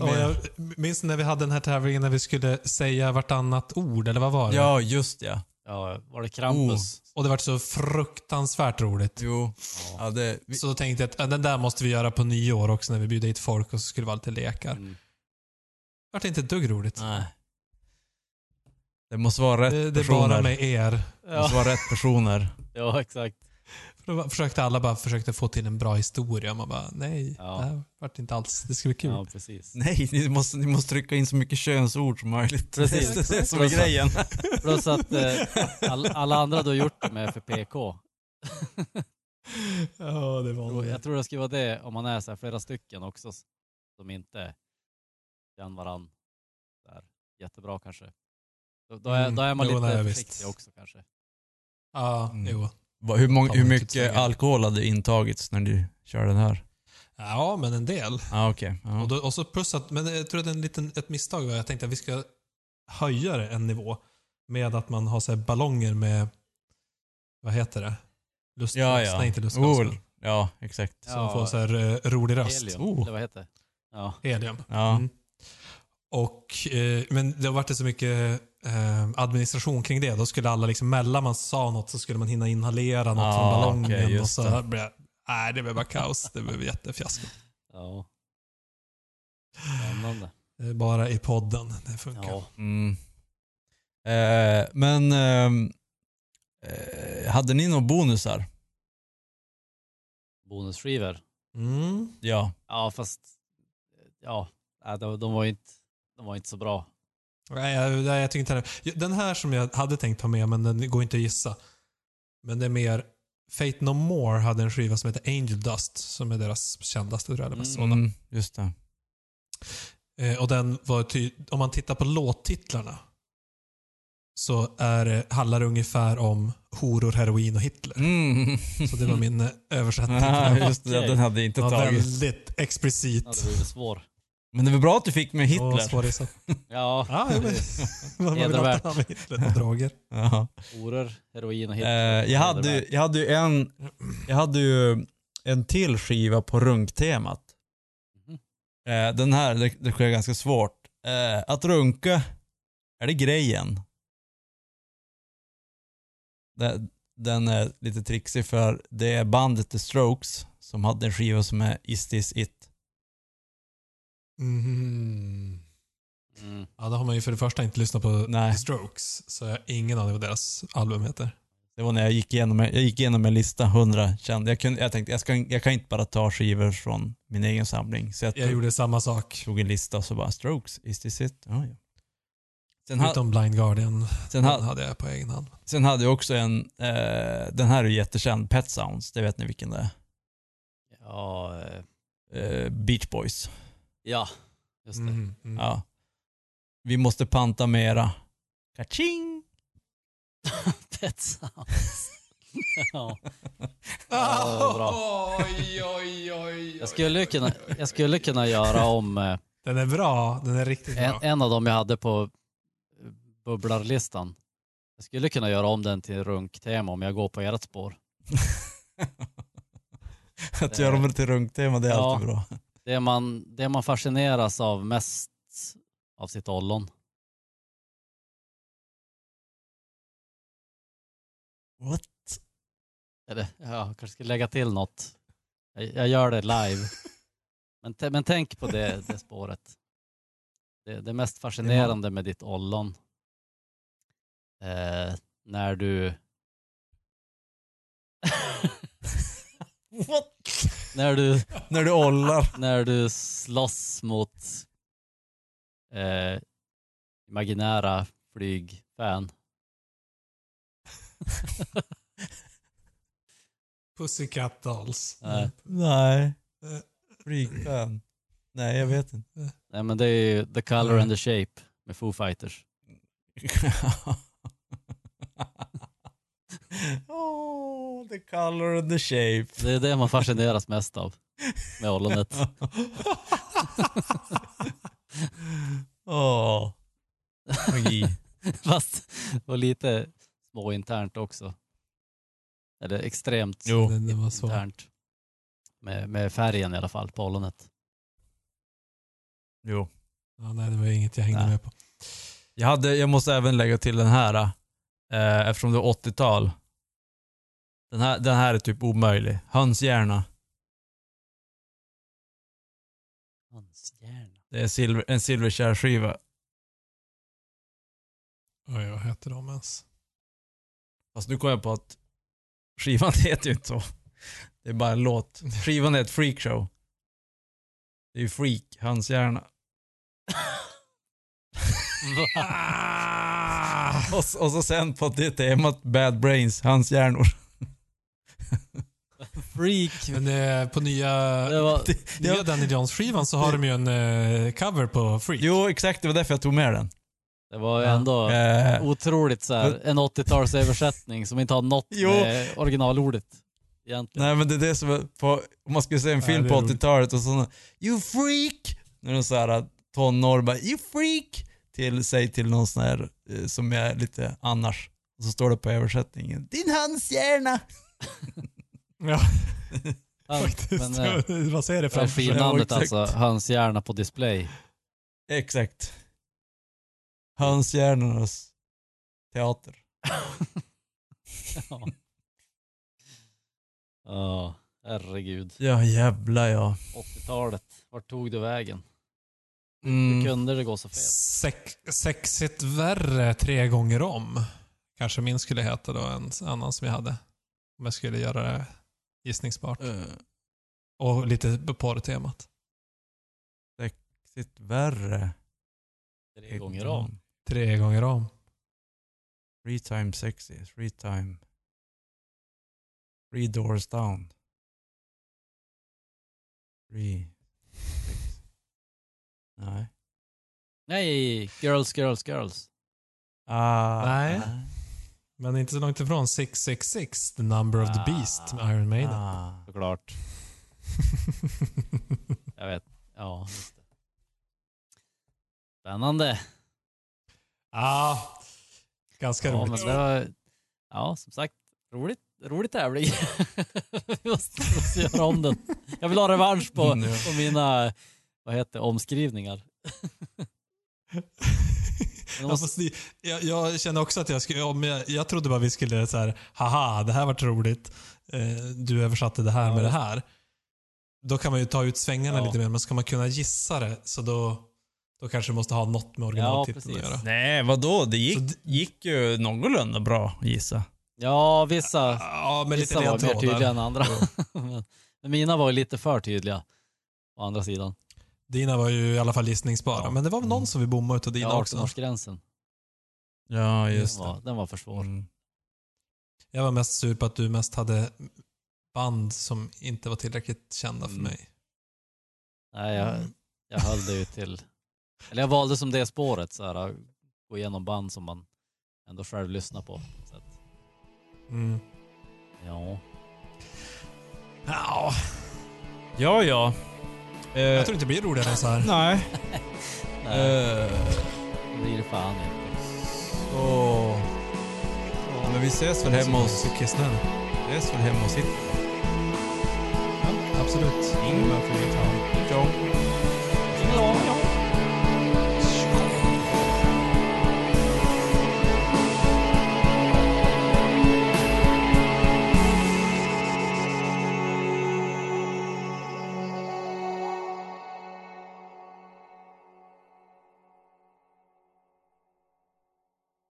Speaker 1: Och jag minns när vi hade den här tävlingen när vi skulle säga vartannat ord, eller vad var det?
Speaker 2: Ja, just ja.
Speaker 3: Ja, var det Krampus?
Speaker 1: Och det var så fruktansvärt roligt.
Speaker 2: Jo. Ja, det, vi,
Speaker 1: Så då tänkte jag att ja, den där måste vi göra på nyår också när vi bjuder hit folk och så skulle det vara lite lekar.
Speaker 3: Mm.
Speaker 1: Det vart inte ett dugg roligt.
Speaker 2: nej. Det måste vara rätt
Speaker 1: Det, det är
Speaker 2: personer.
Speaker 1: bara med er.
Speaker 2: Det måste
Speaker 3: Ja,
Speaker 2: vara rätt personer.
Speaker 3: ja, exakt.
Speaker 1: För då försökte alla bara försökte få till en bra historia. Man bara, nej,
Speaker 3: Ja.
Speaker 1: det här vart inte alls. Det ska bli kul.
Speaker 3: Ja, precis.
Speaker 2: <laughs> Nej, ni måste, ni måste trycka in så mycket könsord som möjligt.
Speaker 3: Precis.
Speaker 2: <laughs> Det är det som är grejen.
Speaker 3: Plus att eh, all, alla andra du har gjort det med för PK.
Speaker 1: Ja, det
Speaker 3: Och Jag tror det skulle vara det om man är så här flera stycken också s- som inte kan varann. Där. Jättebra kanske. Då, då, är,
Speaker 1: Mm,
Speaker 3: då är man
Speaker 1: jo,
Speaker 3: lite
Speaker 1: nej,
Speaker 3: försiktig
Speaker 1: visst.
Speaker 3: också kanske.
Speaker 1: Ja,
Speaker 2: Mm.
Speaker 1: jo.
Speaker 2: Va- Hur, mång,
Speaker 1: Fan,
Speaker 2: hur
Speaker 1: vad typiskt
Speaker 2: mycket
Speaker 1: jag.
Speaker 2: alkohol hade intagits när du körde den här?
Speaker 1: Ja, men en del.
Speaker 2: Ja, ah, okej. Ja.
Speaker 1: Och, då, och så plus att, men jag tror att en liten, ett misstag var, jag tänkte att vi ska höja det en nivå med att man har så här ballonger med, vad heter det? Lustgas?
Speaker 2: Ja, ja.
Speaker 1: Nej, inte lustgas.
Speaker 2: Oh, ja, exakt.
Speaker 1: Som
Speaker 3: Ja.
Speaker 1: får så här eh, rolig röst.
Speaker 3: Helium,
Speaker 2: Oh.
Speaker 3: eller vad heter det? Ja.
Speaker 1: Helium.
Speaker 2: Ja.
Speaker 1: Mm. Och, eh, men det har varit så mycket eh, administration kring det. Då skulle alla, liksom, mellan man sa något så skulle man hinna inhalera något
Speaker 2: Ja,
Speaker 1: från ballongen.
Speaker 2: Ah, okej, just
Speaker 1: och så
Speaker 2: det.
Speaker 1: blev jag, nej det blev bara kaos. Det blev jättefiasko.
Speaker 3: ja. Spännande.
Speaker 1: Eh, Bara i podden. Det funkar.
Speaker 3: Ja.
Speaker 2: Mm. Eh, men ehm, eh, hade ni några bonusar?
Speaker 3: Bonusskivor.
Speaker 1: Mm.
Speaker 2: Ja.
Speaker 3: Ja, fast ja, nej, de, de, var ju inte, de var inte så bra.
Speaker 1: Nej, jag, nej, jag tycker inte heller. Den här som jag hade tänkt ta med, men den går inte att gissa. Men det är mer... Fate No More hade en skiva som heter Angel Dust, som är deras kändaste tror jag. eller bästa låt.
Speaker 2: Mm, just det.
Speaker 1: Eh, och den var ty- om man tittar på låttitlarna så är, det- handlar det ungefär om horor, heroin och Hitler.
Speaker 2: Mm.
Speaker 1: Så det var min eh, översättning.
Speaker 2: <laughs> Ja,
Speaker 1: Den
Speaker 2: <laughs> just det. Den hade inte
Speaker 1: var
Speaker 2: tagits.
Speaker 1: väldigt explicit.
Speaker 3: Ja, det blev svår.
Speaker 2: Men det var bra att du fick med
Speaker 1: Och
Speaker 2: Hitler. <laughs>
Speaker 1: svårigsatt. <laughs>
Speaker 3: Ja,
Speaker 1: Ja, jag vet. Man vill
Speaker 3: Hedervärt.
Speaker 1: alltid ha med Hitler och droger.
Speaker 2: Ja.
Speaker 3: horor, heroin och Hitler.
Speaker 2: Eh, jag, hade, ju- jag hade ju en, jag hade ju en till skiva på runktemat.
Speaker 3: Mhm.
Speaker 2: Eh, den här, det, det sker ganska svårt. Eh, att runka, är det grejen? Det, den är lite trixig för det är bandet The Strokes som hade en skiva som är Is This It.
Speaker 1: Mhm.
Speaker 3: Mm.
Speaker 1: Ja, då har man ju för det första inte lyssnat på
Speaker 2: Mm-hmm. Nej.
Speaker 1: The Strokes, så jag har ingen aning vad deras album heter.
Speaker 2: Det var när jag gick igenom, jag gick igenom en lista, 100 kände. Jag, kunde, jag tänkte jag, ska, jag kan inte bara ta skivor från min egen samling. Så jag,
Speaker 1: Jag
Speaker 2: tog-
Speaker 1: gjorde samma sak,
Speaker 2: tog en lista och så bara Strokes, is this it? Ja, ja. Sen, ha,
Speaker 1: utom Blind Guardian.
Speaker 2: sen,
Speaker 1: Den
Speaker 2: ha,
Speaker 1: hade jag på egen hand.
Speaker 2: sen hade jag också en, eh, den här är ju jättekänd, Pet Sounds, det vet ni vilken det
Speaker 3: Ja, eh,
Speaker 2: är. Eh, Beach Boys.
Speaker 3: ja, just det.
Speaker 1: Mhm, mm.
Speaker 2: Ja. Vi måste panta mera. Kaching!
Speaker 3: Pet Sounds. ja.
Speaker 1: Ah,
Speaker 3: det var bra.
Speaker 1: Oj, oj, oj.
Speaker 3: jag, skulle ju kunna, jag skulle kunna göra om eh,
Speaker 1: Den är bra. Den är riktigt
Speaker 3: en,
Speaker 1: bra.
Speaker 3: en av dem jag hade på eh, bubblarlistan. Jag skulle kunna göra om den till runktema om jag går på ert spår.
Speaker 2: <laughs> Att göra dem till runktema, det är
Speaker 3: Ja.
Speaker 2: alltid bra.
Speaker 3: Det man, det man fascineras av mest av sitt ollon.
Speaker 2: What?
Speaker 3: Eller ja, jag kanske ska lägga till något. Jag, jag gör det live. Men, t- men tänk på det, det spåret. Det, det mest fascinerande med ditt ollon eh, när du när du,
Speaker 2: När du ollar.
Speaker 3: när du slåss mot eh, imaginära flygfan.
Speaker 1: Pussycat Dolls.
Speaker 3: Nej.
Speaker 2: <laughs> Nej. Flygfan. Nej, jag vet <laughs> inte.
Speaker 3: Nej men det är ju The Color
Speaker 1: Mm.
Speaker 3: and the Shape med Foo Fighters.
Speaker 2: oh, the color and the shape.
Speaker 3: Det är det man fascineras mest av med ollonet.
Speaker 2: <laughs> <laughs> Åh. Magi.
Speaker 3: Fast det var lite småinternt också. Eller extremt
Speaker 2: Jo.
Speaker 1: Den, den var svår.
Speaker 3: internt. Med, med färgen i alla fall på ollonet.
Speaker 2: jo.
Speaker 1: Ja, nej, det var inget jag hängde
Speaker 2: Nej.
Speaker 1: med på.
Speaker 2: Jag, hade, jag måste även lägga till den här. Eh, eftersom det är 80-tal. Den här, den här är typ omöjlig. Hönshjärna.
Speaker 3: Hans hjärna. <laughs>
Speaker 2: Det är silver, en silverkärrskiva.
Speaker 1: Oj, vad hette de ens?
Speaker 2: Fast nu kom jag på att skivan <laughs> heter ju inte så. Det är bara en låt. Skivan är ett freakshow. Det är ju freak, hönshjärna. <laughs>
Speaker 3: Ah!
Speaker 2: Och, s- och så sen på det temat bad brains, <laughs> hönshjärnor.
Speaker 3: Freak.
Speaker 1: Men eh, på nya,
Speaker 3: Det var,
Speaker 1: nya
Speaker 2: Ja.
Speaker 1: Danny Jones-skivan så har de ju en eh, cover på Freak.
Speaker 2: Jo, exakt. Det var därför jag tog med den.
Speaker 3: det var ju ändå
Speaker 2: Eh,
Speaker 3: otroligt så här, en 80-talsöversättning som inte har något
Speaker 2: Jo.
Speaker 3: med originalordet. Egentligen.
Speaker 2: nej, men det är det som är på, om man skulle se en
Speaker 1: Ja,
Speaker 2: film
Speaker 1: det är
Speaker 2: på
Speaker 1: roligt.
Speaker 2: 80-talet och sådana “You freak!” När de såhär tonår bara “You freak!” till, säg till någon sån här eh, som är lite annars. Och så står det på översättningen “Din hönshjärna!”
Speaker 1: Ja,
Speaker 3: Ja,
Speaker 1: faktiskt.
Speaker 3: Men, eh,
Speaker 1: <laughs> Vad säger det framför sig?
Speaker 3: Reginamnet
Speaker 2: exakt.
Speaker 3: alltså, hans hjärna på display.
Speaker 2: Exakt. Hönshjärnornas teater.
Speaker 3: Ja, herregud.
Speaker 2: Ja, jävlar ja.
Speaker 3: 80-talet, vart tog du vägen? Hur
Speaker 2: Mm.
Speaker 3: kunde det gå så fel?
Speaker 1: Sex, sexigt värre tre gånger om. Kanske min skulle heta då, en annan som jag hade. Om jag skulle göra det gissningsbart.
Speaker 2: Eh,
Speaker 1: Och lite på porrtemat.
Speaker 2: Sitt värre.
Speaker 3: Tre gånger om.
Speaker 1: Tre gånger om.
Speaker 2: Three times sexy. Three time. Three doors down. Three. Six. Nej.
Speaker 3: Nej, girls, girls, girls.
Speaker 2: Ah,
Speaker 1: Nej. Men inte så långt ifrån. 666, The Number
Speaker 3: Ah.
Speaker 1: of the Beast med Iron Maiden.
Speaker 2: Ah.
Speaker 3: Såklart. Jag vet. Ja, just det. Spännande.
Speaker 1: <laughs> Ja, ganska
Speaker 3: Ah. Ja, men
Speaker 1: roligt.
Speaker 3: det var, ja, som sagt, roligt, rolig tävling. <laughs> Vi måste, måste göra om den. Jag vill ha revansch på,
Speaker 2: Mm, ja.
Speaker 3: på mina, vad heter det, omskrivningar. Men
Speaker 1: <laughs> Ja,
Speaker 3: måste-
Speaker 1: fast det- jag, jag kände också att jag skulle, om jag, jag trodde bara vi skulle så här, haha, det här var roligt. Eh, du översatte det här
Speaker 3: Ja,
Speaker 1: med det
Speaker 3: just
Speaker 1: här. Då kan man ju ta ut svängarna
Speaker 3: Ja.
Speaker 1: lite mer, men ska man kunna gissa det så då, då kanske du måste ha något med originaltiteln att
Speaker 3: precis.
Speaker 1: göra.
Speaker 2: Nej, vadå? Det
Speaker 1: Så
Speaker 2: gick, gick ju någorlunda bra gissa.
Speaker 3: Ja, vissa,
Speaker 1: Ja, men lite
Speaker 3: vissa var mer
Speaker 1: ledtrådar.
Speaker 3: tydliga än andra. <laughs> Men mina var ju lite för tydliga. Å andra sidan.
Speaker 1: Dina var ju i alla fall gissningsbara,
Speaker 2: Ja.
Speaker 1: men det var väl någon
Speaker 2: Mm.
Speaker 1: som vi bommade utav dina
Speaker 3: Ja,
Speaker 1: också.
Speaker 3: 18-årsgränsen.
Speaker 2: Ja,
Speaker 3: Den
Speaker 2: just det.
Speaker 3: var, den var för svår.
Speaker 2: Mm.
Speaker 1: Jag var mest sur på att du mest hade band som inte var tillräckligt kända för
Speaker 3: Mm.
Speaker 1: mig.
Speaker 3: Nej, jag,
Speaker 1: Mm.
Speaker 3: jag höll det ju till... Eller jag valde som det spåret, så här, gå igenom band som man ändå själv lyssnar på. Så att,
Speaker 1: Mm.
Speaker 3: ja.
Speaker 1: Ja,
Speaker 2: Ja, ja. Eh,
Speaker 1: jag tror inte det blir roligare än så här.
Speaker 2: Nej.
Speaker 3: Nej,
Speaker 2: <laughs> Eh,
Speaker 3: det blir det fan inte.
Speaker 2: så... Men vi ses väl hemma hos...
Speaker 1: Cykelsnön.
Speaker 2: Vi ses väl hemma hos Hitler?
Speaker 1: Ja, absolut.
Speaker 2: Ingmar får vi ta. Ciao.
Speaker 3: Ja.